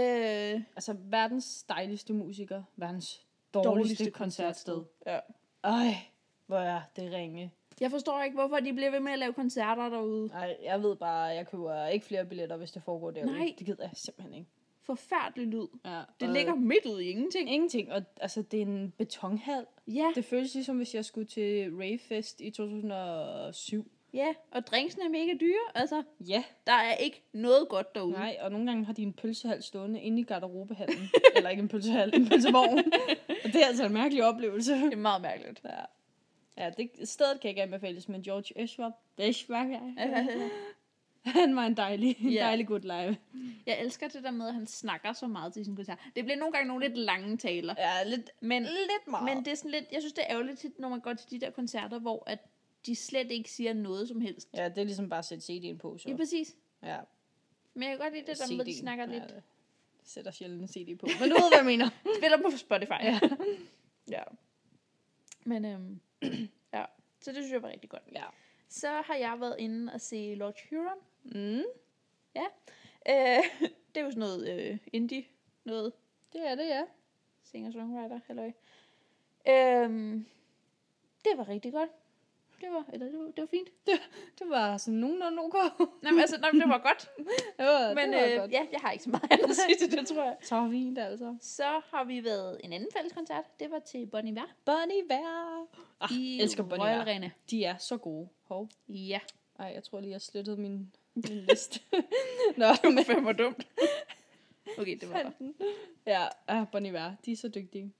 Speaker 2: Altså verdens dejligste musiker, verdens dårligste, dårligste koncertsted.
Speaker 1: Ja.
Speaker 2: Øj, hvor er det ringe.
Speaker 1: Jeg forstår ikke, hvorfor de bliver ved med at lave koncerter derude.
Speaker 2: Nej, jeg ved bare, jeg køber ikke flere billetter, hvis det foregår derude.
Speaker 1: Nej.
Speaker 2: Det gider jeg simpelthen ikke.
Speaker 1: Forfærdelig lyd.
Speaker 2: Ja,
Speaker 1: Det ligger midt ud i ingenting.
Speaker 2: Ingenting, og altså, det er en betonhal.
Speaker 1: Ja,
Speaker 2: Det føles ligesom, hvis jeg skulle til Ravefest i 2007.
Speaker 1: ja, og drinksene er mega dyre. Altså,
Speaker 2: Ja,
Speaker 1: der er ikke noget godt derude.
Speaker 2: nej, og nogle gange har de en pølsehal stående inde i garderobehallen. Eller ikke en pølsehal, en pølsevogn. og det er altså en mærkelig oplevelse.
Speaker 1: Det er meget mærkeligt.
Speaker 2: Ja, ja det, stedet kan ikke anbefales, men George Ezra, Ezra, ja.
Speaker 1: Øh,
Speaker 2: han var en dejlig, en
Speaker 1: Ja.
Speaker 2: dejlig good live.
Speaker 1: jeg elsker det der med, at han snakker så meget til sin koncert. Det bliver nogle gange nogle lidt lange taler.
Speaker 2: Ja, lidt,
Speaker 1: Men
Speaker 2: lidt meget.
Speaker 1: Men det er sådan lidt, jeg synes, det er ærgerligt, tit, når man går til de der koncerter, hvor at de slet ikke siger noget som helst.
Speaker 2: Ja, det er ligesom bare at sætte CD'en på, så.
Speaker 1: Ja, præcis.
Speaker 2: Ja,
Speaker 1: Men jeg kan godt lide det der med, at de
Speaker 2: CD'en.
Speaker 1: snakker
Speaker 2: Ja,
Speaker 1: lidt.
Speaker 2: det sætter sjældent en CD på. Men du ved, hvad jeg mener.
Speaker 1: Spiller på Spotify.
Speaker 2: Ja.
Speaker 1: ja. Men øhm, ja, så det synes jeg var rigtig godt.
Speaker 2: ja.
Speaker 1: Så har jeg været inde og se Lord Huron.
Speaker 2: Mm,
Speaker 1: Øh, det er jo sådan noget øh, indie noget.
Speaker 2: det er det, ja.
Speaker 1: Singer-songwriter, halløj. Øhm, det var rigtig godt. Det var, eller det var, det var fint.
Speaker 2: Det var sådan nogenlunde ok.
Speaker 1: Nej, men altså, nej, men det var godt.
Speaker 2: det var,
Speaker 1: Men
Speaker 2: det var
Speaker 1: øh,
Speaker 2: godt.
Speaker 1: ja, jeg har ikke så meget andet at sige til det, tror jeg.
Speaker 2: Så fint, altså.
Speaker 1: Så har vi været en anden fælles koncert. Det var til Bon Iver
Speaker 2: Bonnie Iver. Ah,
Speaker 1: i
Speaker 2: elsker Bon
Speaker 1: Royal
Speaker 2: Iver.
Speaker 1: Arena.
Speaker 2: De er så gode. Hov.
Speaker 1: Ja.
Speaker 2: Ej, jeg tror lige, jeg slettede min, min liste. Nå, men
Speaker 1: Det var dumt. Okay, det var
Speaker 2: fandt den. Ja, ah, Bon Iver. De er så dygtige.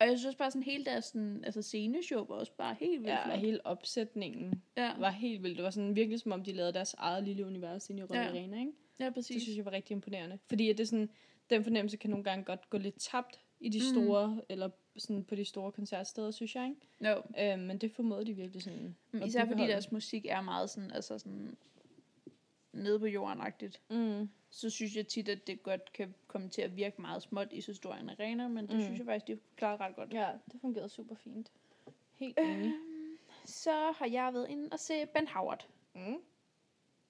Speaker 1: Og jeg synes bare sådan hele deres sådan, altså sceneshow var også bare helt vildt
Speaker 2: Ja, og
Speaker 1: flot.
Speaker 2: hele opsætningen
Speaker 1: Ja,
Speaker 2: var helt vildt. Det var sådan virkelig, som om de lavede deres eget lille univers inde i Royal
Speaker 1: Ja.
Speaker 2: Arena, ikke?
Speaker 1: ja,
Speaker 2: Det
Speaker 1: præcis.
Speaker 2: synes jeg var rigtig imponerende. Fordi at det er sådan, den fornemmelse kan nogle gange godt gå lidt tabt i de
Speaker 1: Mhm.
Speaker 2: store, mm. eller sådan på de store koncertsteder, synes jeg.
Speaker 1: No.
Speaker 2: Ikke? Øh, men det formåede de virkelig sådan. at
Speaker 1: Mm, Især fordi
Speaker 2: bibeholde.
Speaker 1: deres musik er meget sådan, altså sådan nede på jorden-agtigt.
Speaker 2: Mm.
Speaker 1: Så synes jeg tit, at det godt kan komme til at virke meget småt i så stor en arena, men det
Speaker 2: Mm.
Speaker 1: mm. synes jeg faktisk, de klarede ret godt.
Speaker 2: Ja, det fungerede super fint. Helt enig.
Speaker 1: Så har jeg været inde og se Ben Howard.
Speaker 2: Mm.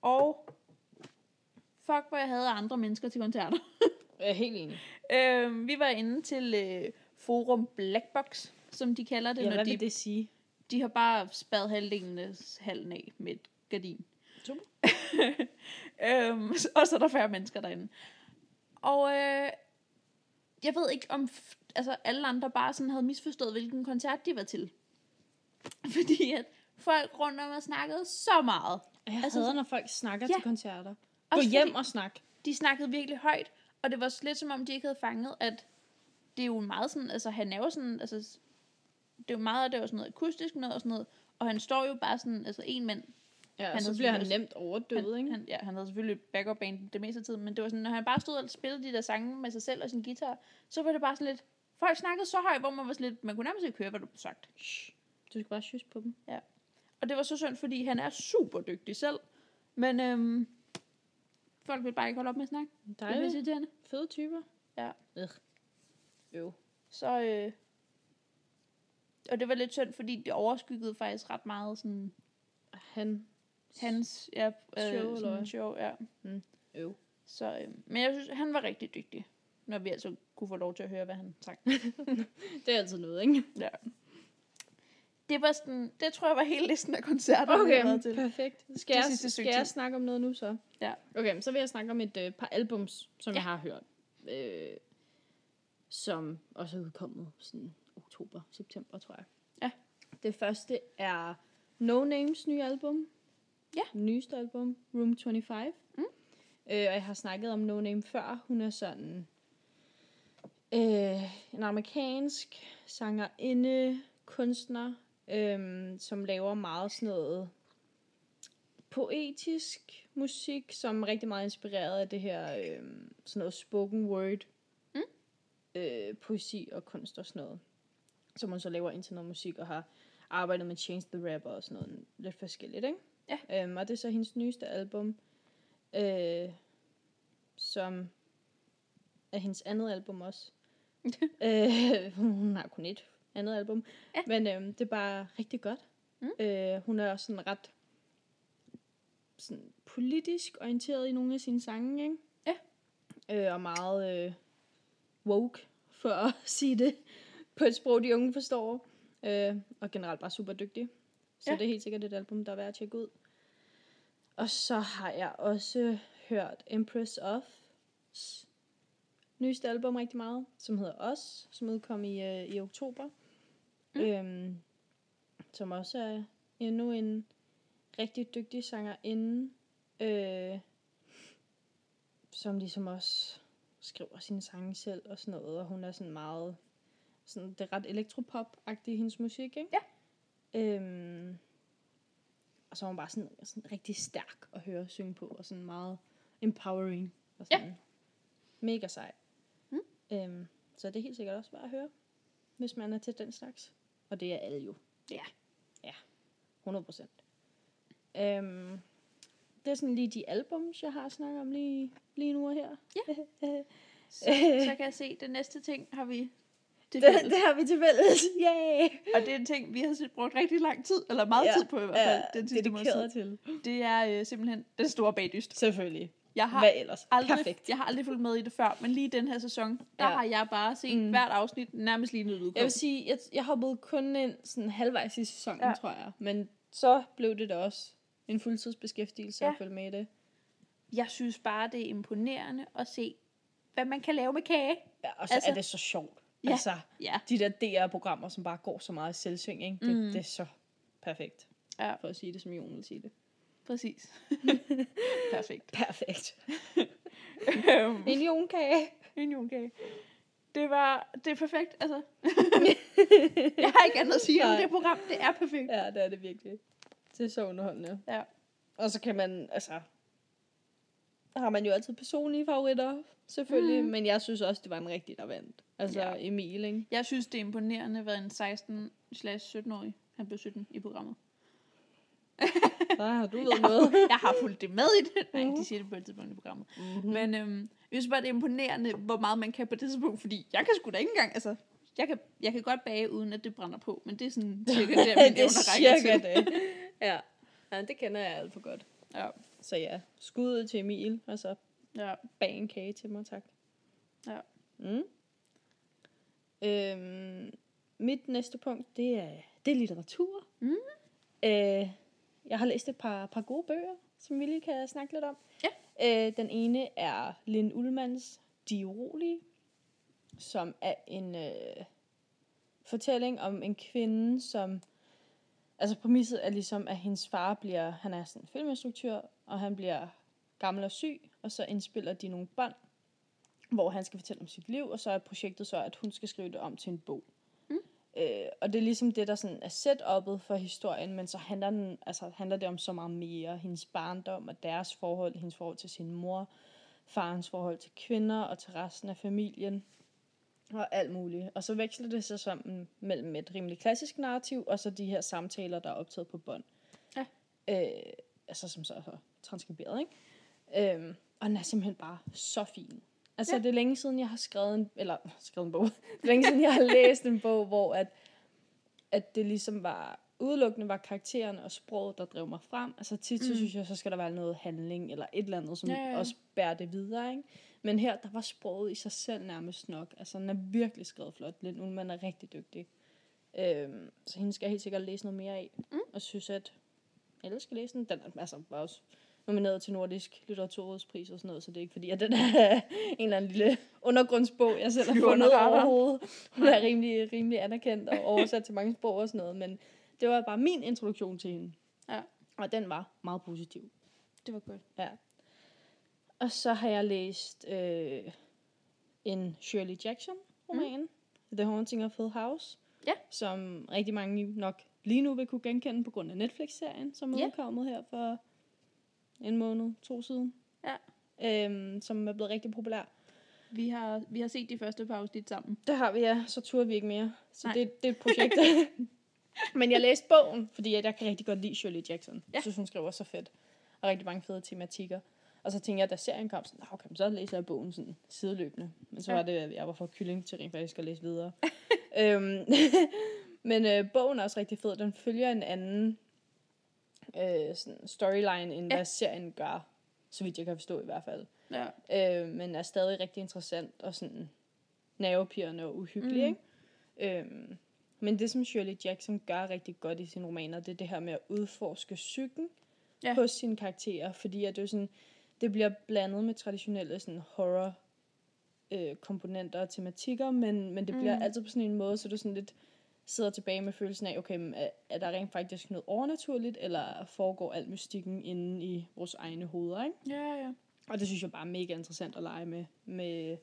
Speaker 1: Og fuck, hvor jeg havde andre mennesker til koncerter.
Speaker 2: Jeg er helt enig.
Speaker 1: øhm, vi var inde til øh, Forum Blackbox, som de kalder det,
Speaker 2: Ja,
Speaker 1: når
Speaker 2: hvad
Speaker 1: de...
Speaker 2: vil det sige?
Speaker 1: de har bare spadet halvdelen af halen af med et gardin.
Speaker 2: Super.
Speaker 1: øhm, og så er der færre mennesker derinde. Og øh, jeg ved ikke, om f- altså, alle andre bare sådan havde misforstået, hvilken koncert de var til. Fordi at folk rundt om og snakkede så meget.
Speaker 2: Jeg
Speaker 1: Altså,
Speaker 2: altså, hader, når folk snakker
Speaker 1: Ja.
Speaker 2: ja. til koncerter. Gå
Speaker 1: Også
Speaker 2: hjem
Speaker 1: fordi-
Speaker 2: og snak.
Speaker 1: de snakkede virkelig højt, og det var lidt som om, de ikke havde fanget, at det er jo meget sådan, altså han er jo sådan, altså s- det er jo meget, det var sådan noget akustisk noget og sådan noget, og han står jo bare sådan, altså en mand.
Speaker 2: Ja,
Speaker 1: Han
Speaker 2: han
Speaker 1: er
Speaker 2: så bliver han
Speaker 1: selvfølgelig
Speaker 2: nemt overdøvet,
Speaker 1: Han,
Speaker 2: ikke?
Speaker 1: han, ja, han havde selvfølgelig et backup band det meste af tiden, men det var sådan, når han bare stod og spillede de der sange med sig selv og sin guitar, så var det bare sådan lidt, folk snakkede så højt, hvor man var sådan lidt, man kunne nærmest ikke høre, hvad du blev sagt.
Speaker 2: Shh. Du skal bare skysse på dem.
Speaker 1: Og det var så synd, fordi han er super dygtig selv, men øhm, folk vil bare ikke holde op med at snakke. Det er lidt
Speaker 2: Dejligt.
Speaker 1: irriterende.
Speaker 2: Fede typer.
Speaker 1: Ja.
Speaker 2: Ugh. Øv.
Speaker 1: Så, øh, og det var lidt synd, fordi det overskyggede faktisk ret meget sådan,
Speaker 2: Han.
Speaker 1: hans ja, øh,
Speaker 2: Show, eller
Speaker 1: sådan
Speaker 2: hvad? Mm,
Speaker 1: show. Ja.
Speaker 2: Øv.
Speaker 1: Så, øh, men jeg synes, han var rigtig dygtig, når vi altså kunne få lov til at høre, hvad han sang.
Speaker 2: Det er altid noget, ikke?
Speaker 1: Det var sådan, det tror jeg var hele listen af koncerter, vi har været
Speaker 2: Okay,
Speaker 1: til.
Speaker 2: perfekt. Skal,
Speaker 1: Det
Speaker 2: jeg,
Speaker 1: sidste stykke
Speaker 2: skal jeg
Speaker 1: tid.
Speaker 2: snakke om noget nu så?
Speaker 1: Ja.
Speaker 2: Okay, så vil jeg snakke om et øh, par albums, som
Speaker 1: Ja.
Speaker 2: ja. jeg har hørt. Øh, som også er udkommet sådan oktober, september, tror jeg.
Speaker 1: Ja.
Speaker 2: Det første er No Names nye album.
Speaker 1: Ja.
Speaker 2: Nyeste album, Room 25.
Speaker 1: Mm.
Speaker 2: Øh, og jeg har snakket om No Name før. Hun er sådan øh, en amerikansk sangerinde, kunstner, øh, som laver meget sådan noget poetisk musik, som er rigtig meget inspireret af det her øh, sådan noget spoken word
Speaker 1: Mm.
Speaker 2: øh, poesi og kunst og sådan noget. Som hun så laver ind til noget musik og har arbejdet med Change the Rapper og sådan noget lidt forskelligt, ikke? Ja. Øhm, og det er så hendes nyeste album, øh, som er hendes andet album også. øh, hun har kun et andet album,
Speaker 1: Ja.
Speaker 2: men øh, det er bare rigtig godt.
Speaker 1: Mm.
Speaker 2: Øh, hun er også sådan ret sådan politisk orienteret i nogle af sine sange, ikke?
Speaker 1: Ja.
Speaker 2: Øh, og meget øh, woke, for at sige det på et sprog, de unge forstår. Øh, og generelt bare super dygtig. Så
Speaker 1: Ja.
Speaker 2: ja. det er helt sikkert et album, der er værd at tjekke ud. Og så har jeg også hørt Empress of nyeste album rigtig meget, som hedder Os, som udkom i, øh, i oktober.
Speaker 1: Mm.
Speaker 2: Mm. Øhm, som også er endnu en rigtig dygtig sangerinde, øh, som ligesom også skriver sine sange selv og sådan noget, og hun er sådan meget, sådan, det er ret elektropop-agtigt i hendes musik, ikke? Ja. Øhm, og så er hun bare sådan, sådan rigtig stærk at høre og synge på, og sådan meget empowering. Og
Speaker 1: Ja.
Speaker 2: sådan. Ja. Mega sej.
Speaker 1: Mm.
Speaker 2: Øhm, så det er helt sikkert også bare at høre, hvis man er til den slags. Og det er alle jo.
Speaker 1: Ja.
Speaker 2: Ja. 100 procent. Øhm, det er sådan lige de albums, jeg har snakket om lige, lige nu og her.
Speaker 1: Så, så kan jeg se, det næste ting har vi til
Speaker 2: Det,
Speaker 1: fælles.
Speaker 2: det har vi til fælles. Yay!
Speaker 1: Og det er en ting, vi har brugt rigtig lang tid, eller meget
Speaker 2: Ja.
Speaker 1: tid på i hvert fald, den sidste måneds
Speaker 2: dedikeret
Speaker 1: tid.
Speaker 2: til.
Speaker 1: Det er øh, simpelthen den store bagdyst.
Speaker 2: Selvfølgelig.
Speaker 1: Jeg har
Speaker 2: Hvad ellers?
Speaker 1: aldrig,
Speaker 2: Perfekt.
Speaker 1: Jeg har aldrig fulgt med i det før, men lige den her sæson, der
Speaker 2: Ja.
Speaker 1: har jeg bare set mm.
Speaker 2: Mm.
Speaker 1: hvert afsnit nærmest lige nyt
Speaker 2: Jeg
Speaker 1: udkom.
Speaker 2: vil sige, jeg, jeg hoppede kun ind sådan halvvejs i sæsonen,
Speaker 1: Ja.
Speaker 2: ja. tror jeg. Men så blev det da også en fuldtidsbeskæftigelse ja.
Speaker 1: Ja.
Speaker 2: at følge med i det.
Speaker 1: Jeg synes bare, det er imponerende at se, hvad man kan lave med kage.
Speaker 2: Ja, og så
Speaker 1: Altså-
Speaker 2: altså, er det så sjovt.
Speaker 1: Ja.
Speaker 2: Ja. Altså,
Speaker 1: Ja.
Speaker 2: de der DR-programmer, som bare går så meget i selvsving, ikke? Det,
Speaker 1: Mm.
Speaker 2: mm. det er så perfekt.
Speaker 1: Ja.
Speaker 2: For at sige det, som Jon vil sige det.
Speaker 1: Præcis. Perfekt.
Speaker 2: Perfekt.
Speaker 1: Øhm,
Speaker 2: En jonkage.
Speaker 1: en julekage. Det var, det er perfekt, altså. jeg har ikke andet at sige om
Speaker 2: Nej.
Speaker 1: det program. Det er perfekt.
Speaker 2: Ja, det er det virkelig. Det er så underholdende.
Speaker 1: Ja.
Speaker 2: Og så kan man, altså... Har man jo altid personlige favoritter, selvfølgelig.
Speaker 1: Mm.
Speaker 2: Mm. Men jeg synes også, det var en rigtig, der vandt. Altså
Speaker 1: Ja.
Speaker 2: ja. Emil, ikke?
Speaker 1: Jeg synes, det er imponerende, hvad en 16-17-årig, han blev 17 i programmet.
Speaker 2: Ah, du
Speaker 1: Jeg
Speaker 2: ved
Speaker 1: har,
Speaker 2: noget.
Speaker 1: jeg har fulgt det med i det. Nej, de siger det på et tidspunkt i programmet.
Speaker 2: Mm-hmm.
Speaker 1: Men øhm, jeg synes bare, det er imponerende, hvor meget man kan på det tidspunkt, fordi jeg kan sgu da ikke engang, altså, jeg kan, jeg kan godt bage, uden at det brænder på, men det er sådan cirka der, mine
Speaker 2: det er
Speaker 1: evner rækker
Speaker 2: cirka
Speaker 1: til.
Speaker 2: det. ja. ja, det kender jeg alt for godt.
Speaker 1: Ja,
Speaker 2: Så ja, skud ud til Emil, altså. og så
Speaker 1: ja.
Speaker 2: bag en kage til mig, tak.
Speaker 1: Ja.
Speaker 2: Mm. Øhm, mit næste punkt, det er, det er litteratur.
Speaker 1: Mhm.
Speaker 2: Øh, jeg har læst et par, par gode bøger, som vi lige kan snakke lidt om.
Speaker 1: Ja.
Speaker 2: Øh, den ene er Lin Ullmans De Urolige, som er en øh, fortælling om en kvinde, som... Altså præmisset er ligesom, at hendes far bliver... Han er sådan en filminstruktør, og han bliver gammel og syg, og så indspiller de nogle bånd, hvor han skal fortælle om sit liv, og så er projektet så, at hun skal skrive det om til en bog. Øh, og det er ligesom det, der sådan er setup'et for historien, men så handler, den, altså, handler det om så meget mere. Hendes barndom og deres forhold, hendes forhold til sin mor, farens forhold til kvinder og til resten af familien og alt muligt. Og så veksler det sig sammen mellem et rimelig klassisk narrativ, og så de her samtaler, der er optaget på bånd.
Speaker 1: Ja.
Speaker 2: Øh, altså som så er transkriberet, ikke? Øhm, og den er simpelthen bare så fin. Altså
Speaker 1: Ja.
Speaker 2: ja. det er længe siden, jeg har skrevet en, eller skrevet en bog. det er længe siden, jeg har læst en bog, hvor at, at det ligesom var, udelukkende var karaktererne og sproget, der drev mig frem. Altså tit, så
Speaker 1: Mm.
Speaker 2: synes jeg, så skal der være noget handling, eller et eller andet, som
Speaker 1: Ja, ja, ja.
Speaker 2: også bærer det videre, ikke? Men her, der var sproget i sig selv nærmest nok. Altså, den er virkelig skrevet flot. Lind Ullmann er rigtig dygtig. Øhm, så hende skal jeg helt sikkert læse noget mere af.
Speaker 1: Mm.
Speaker 2: Og synes, at alle skal læse den. Den er altså, var også nomineret til Nordisk Litteraturrådspris og sådan noget, så det er ikke fordi, at den er en eller anden lille undergrundsbog, jeg selv har
Speaker 1: Flyver under
Speaker 2: fundet
Speaker 1: radaren.
Speaker 2: overhovedet. Hun er rimelig, rimelig anerkendt og oversat til mange sprog og sådan noget, men det var bare min introduktion til hende.
Speaker 1: Ja.
Speaker 2: Og den var meget positiv.
Speaker 1: Det var godt.
Speaker 2: Ja. Og så har jeg læst øh, en Shirley Jackson roman, mm. The Haunting of Hill House,
Speaker 1: Ja.
Speaker 2: som rigtig mange nok lige nu vil kunne genkende på grund af Netflix-serien, som er
Speaker 1: Ja.
Speaker 2: udkommet her for en måned, to siden.
Speaker 1: Ja.
Speaker 2: Øhm, som er blevet rigtig populær.
Speaker 1: Vi har, vi har set de første par afsnit sammen.
Speaker 2: Det har vi, ja. Så turde vi ikke mere. Så
Speaker 1: Nej.
Speaker 2: det, det er et projekt. Men jeg læste bogen, fordi at jeg kan rigtig godt lide Shirley Jackson. Ja. Jeg synes, hun skriver så fedt. Og rigtig mange fede tematikker. Og så tænkte jeg, da serien kom, sådan, "Nå, okay, men så læser jeg bogen sådan sideløbende. Men så
Speaker 1: Ja.
Speaker 2: var det, at jeg var for kylling til rent faktisk at læse videre. øhm, men øh, bogen er også rigtig fed. Den følger en anden øh, sådan storyline, end
Speaker 1: Ja.
Speaker 2: ja. hvad serien gør. Så vidt jeg kan forstå i hvert fald
Speaker 1: Ja.
Speaker 2: øh, men er stadig rigtig interessant og sådan nervepirrende og uhyggelig,
Speaker 1: Mhm.
Speaker 2: ikke? Øh, men det, som Shirley Jackson gør rigtig godt i sine romaner, det er det her med at udforske psyken
Speaker 1: Ja.
Speaker 2: ja. hos sine karakterer, fordi at det, er sådan, det bliver blandet med traditionelle sådan horror øh, komponenter og tematikker, men, men det bliver
Speaker 1: Mm.
Speaker 2: altid på sådan en måde, så du sådan lidt sidder tilbage med følelsen af, okay, men er, er der rent faktisk noget overnaturligt, eller foregår al mystikken inde i vores egne hoveder, ikke?
Speaker 1: Ja, ja.
Speaker 2: Og det synes jeg bare er mega interessant at lege med, med,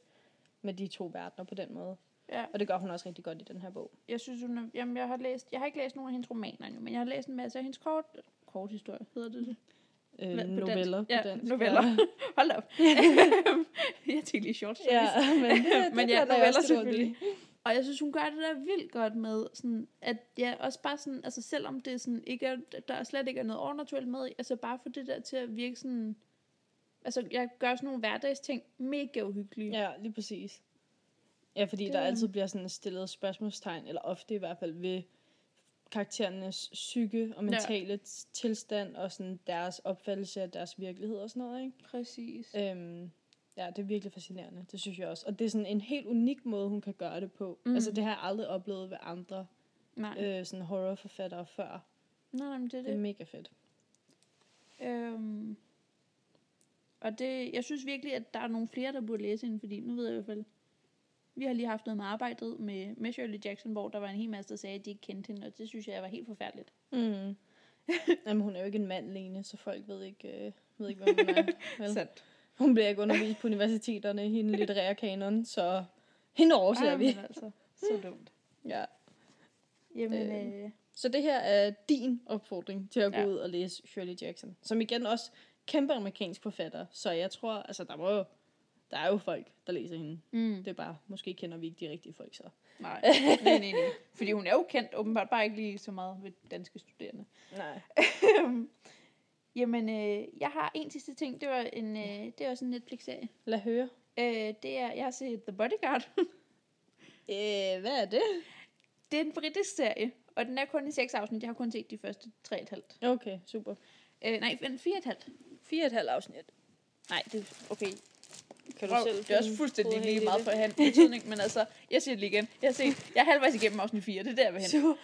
Speaker 2: med de to verdener på den måde.
Speaker 1: Ja,
Speaker 2: Og det gør hun også rigtig godt i den her bog.
Speaker 1: jeg synes, hun er, jamen, jeg har læst, jeg har ikke læst nogen af hendes romaner endnu, men jeg har læst en masse af hendes kort, kort historie, hedder det det?
Speaker 2: Øh,
Speaker 1: Hvad- på
Speaker 2: noveller
Speaker 1: dansk? Ja, noveller. Hold da op. jeg tænkte lige short
Speaker 2: Ja,
Speaker 1: stories.
Speaker 2: men, det, det
Speaker 1: Men ja,
Speaker 2: bliver der
Speaker 1: noveller
Speaker 2: også lidt ondt i.
Speaker 1: selvfølgelig. Og jeg synes, hun gør det der vildt godt med, sådan, at ja, også bare sådan, altså selvom det sådan ikke er, der slet ikke er noget overnaturligt med, i, altså bare for det der til at virke sådan, altså jeg gør sådan nogle hverdagsting mega uhyggelige.
Speaker 2: Ja, lige præcis. Ja, fordi
Speaker 1: Det
Speaker 2: det... der
Speaker 1: er-
Speaker 2: altid bliver sådan stillet spørgsmålstegn, eller ofte i hvert fald ved karakterernes psyke og mentale ja. tilstand, og sådan deres opfattelse af deres virkelighed og sådan noget, ikke?
Speaker 1: Præcis.
Speaker 2: Øhm, ja, det er virkelig fascinerende, det synes jeg også. Og det er sådan en helt unik måde, hun kan gøre det på.
Speaker 1: Mm.
Speaker 2: Mm. Altså, det har jeg aldrig oplevet ved andre
Speaker 1: Nej, øh.
Speaker 2: øh, sådan horrorforfattere før.
Speaker 1: nej, nej, men det er
Speaker 2: Det er
Speaker 1: det.
Speaker 2: mega fedt.
Speaker 1: Øhm, og det, jeg synes virkelig, at der er nogle flere, der burde læse hende, fordi nu ved jeg i hvert fald, vi har lige haft noget med arbejdet med, med Shirley Jackson, hvor der var en hel masse, der sagde, at de ikke kendte hende, og det synes jeg var helt forfærdeligt.
Speaker 2: Mm. Jamen, hun er jo ikke en mand, Lene, så folk ved ikke, øh, ved ikke hvem hun er. Vel?
Speaker 1: Sandt.
Speaker 2: Hun bliver ikke undervist på universiteterne i hende litterære kanon, så hende overser vi.
Speaker 1: altså, så dumt.
Speaker 2: Ja.
Speaker 1: Jamen,
Speaker 2: Øhm.
Speaker 1: øh,
Speaker 2: Så det her er din opfordring til at gå
Speaker 1: Ja.
Speaker 2: ud og læse Shirley Jackson, som igen også kæmpe amerikansk forfatter, så jeg tror, altså der må jo, der er jo folk, der læser hende.
Speaker 1: mm,
Speaker 2: Det er bare, måske kender vi ikke de rigtige folk så.
Speaker 1: nej, nej, nej, nej. Fordi hun er jo kendt åbenbart bare ikke lige så meget ved danske studerende.
Speaker 2: Nej.
Speaker 1: Jamen, øh, jeg har en sidste ting. Det var en, øh, det var sådan en Netflix-serie.
Speaker 2: Lad høre.
Speaker 1: Øh, det er, jeg har set The Bodyguard.
Speaker 2: Øh, hvad er det?
Speaker 1: Det er en britisk serie, og den er kun i seks afsnit. Jeg har kun set de første tre og et halvt.
Speaker 2: Okay, super.
Speaker 1: Øh, nej, men fire og et halvt.
Speaker 2: Fire og et halvt afsnit.
Speaker 1: Nej, det okay.
Speaker 2: Kan du
Speaker 1: Prøv,
Speaker 2: selv
Speaker 1: det er også
Speaker 2: finde
Speaker 1: fuldstændig
Speaker 2: hovedet hen
Speaker 1: lige
Speaker 2: i
Speaker 1: meget
Speaker 2: det?
Speaker 1: for at have en betydning, men altså, jeg siger det lige igen. Jeg har set, jeg er halvvejs igennem afsnit 4, det er der, jeg vil hen.
Speaker 2: Så,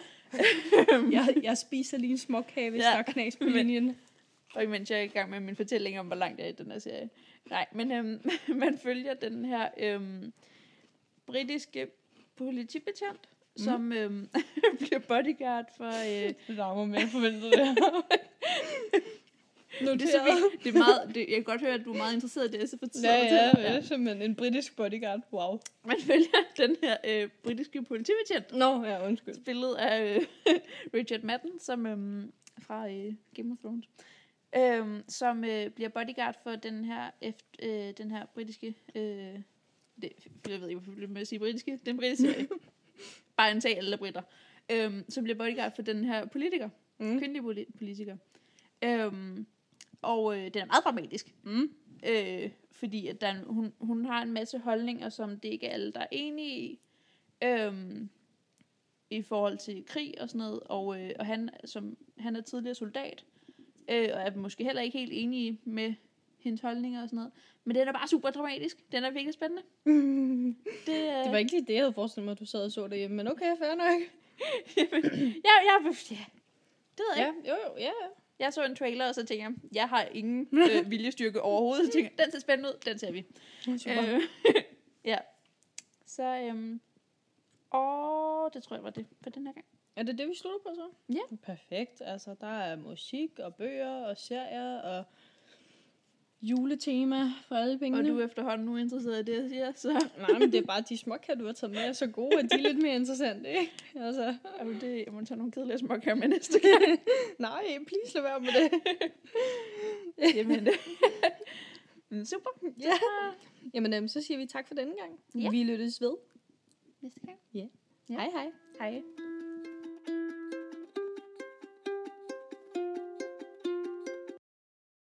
Speaker 4: Jeg, jeg spiser lige en småkage, hvis
Speaker 1: Ja.
Speaker 4: ja. der er knas på
Speaker 1: Men-
Speaker 4: linjen.
Speaker 1: Og imens jeg er i gang med min fortælling om, hvor langt jeg er i den her serie. Nej, men øhm, man følger den her øhm, britiske politibetjent,
Speaker 2: Mhm.
Speaker 1: mm. som øhm, bliver bodyguard for... Øh,
Speaker 2: Det larmer mere forventet det her.
Speaker 1: det, er så vildt. det er meget, det, jeg kan godt høre, at du er meget interesseret i det, så for tid
Speaker 2: Ja, ja, ja, simpelthen en britisk bodyguard. Wow.
Speaker 1: Man følger den her øh, britiske politibetjent,
Speaker 2: Nå, ja, undskyld.
Speaker 1: spillet af øh, Richard Madden, som øhm, fra øh, Game of Thrones, øhm, som øh, bliver bodyguard for den her eft- øh, den her britiske øh, det, jeg ved ikke hvorfor jeg bliver ved med at sige britiske, den britiske bare en tag alle er britter, øhm, som bliver bodyguard for den her politiker, mm.
Speaker 2: Mm.
Speaker 1: kvindelig poli- politiker. Øhm, og øh, den er meget dramatisk. Mm. Øh, fordi at der, er en- hun, hun har en masse holdninger, som det ikke er alle, der er enige i. Øhm, I forhold til krig og sådan noget. Og, øh, og han, som, han er tidligere soldat. Øh, og er måske heller ikke helt enige med hendes holdninger og sådan noget. Men den er bare super dramatisk. Den er virkelig spændende. Det, øh,
Speaker 2: Det var ikke lige det, jeg havde forestillet mig, at du sad og så derhjemme, men okay, fair nok.
Speaker 1: ja, ja, ja. Det ved jeg
Speaker 2: Ja, jo, jo, ja. ja.
Speaker 1: Jeg så en trailer, og så tænker jeg, jeg har ingen øh, viljestyrke overhovedet. Så tænker jeg, den ser spændende ud, den ser vi.
Speaker 2: Super.
Speaker 1: Øh, ja. Så, øhm, og det tror jeg var det for den her gang.
Speaker 2: Er det det, vi slutter på så?
Speaker 1: Ja.
Speaker 2: Perfekt. Altså, der er musik og bøger og serier og juletema for alle
Speaker 1: Og
Speaker 2: pengene.
Speaker 1: du er efterhånden nu interesseret i det, jeg siger, så
Speaker 2: Nej, men det er bare de småkager, du har taget med, er så gode, at de er lidt mere interessante, ikke? Altså,
Speaker 1: er du det, jeg må tage nogle kedelige små med næste gang.
Speaker 2: nej, please lad være med det.
Speaker 1: Jamen, øh, men super.
Speaker 2: Ja. Jamen, øhm, så siger vi tak for denne gang.
Speaker 1: Ja.
Speaker 2: Vi lyttes ved.
Speaker 1: Næste gang.
Speaker 2: Hej, hej.
Speaker 1: Hej.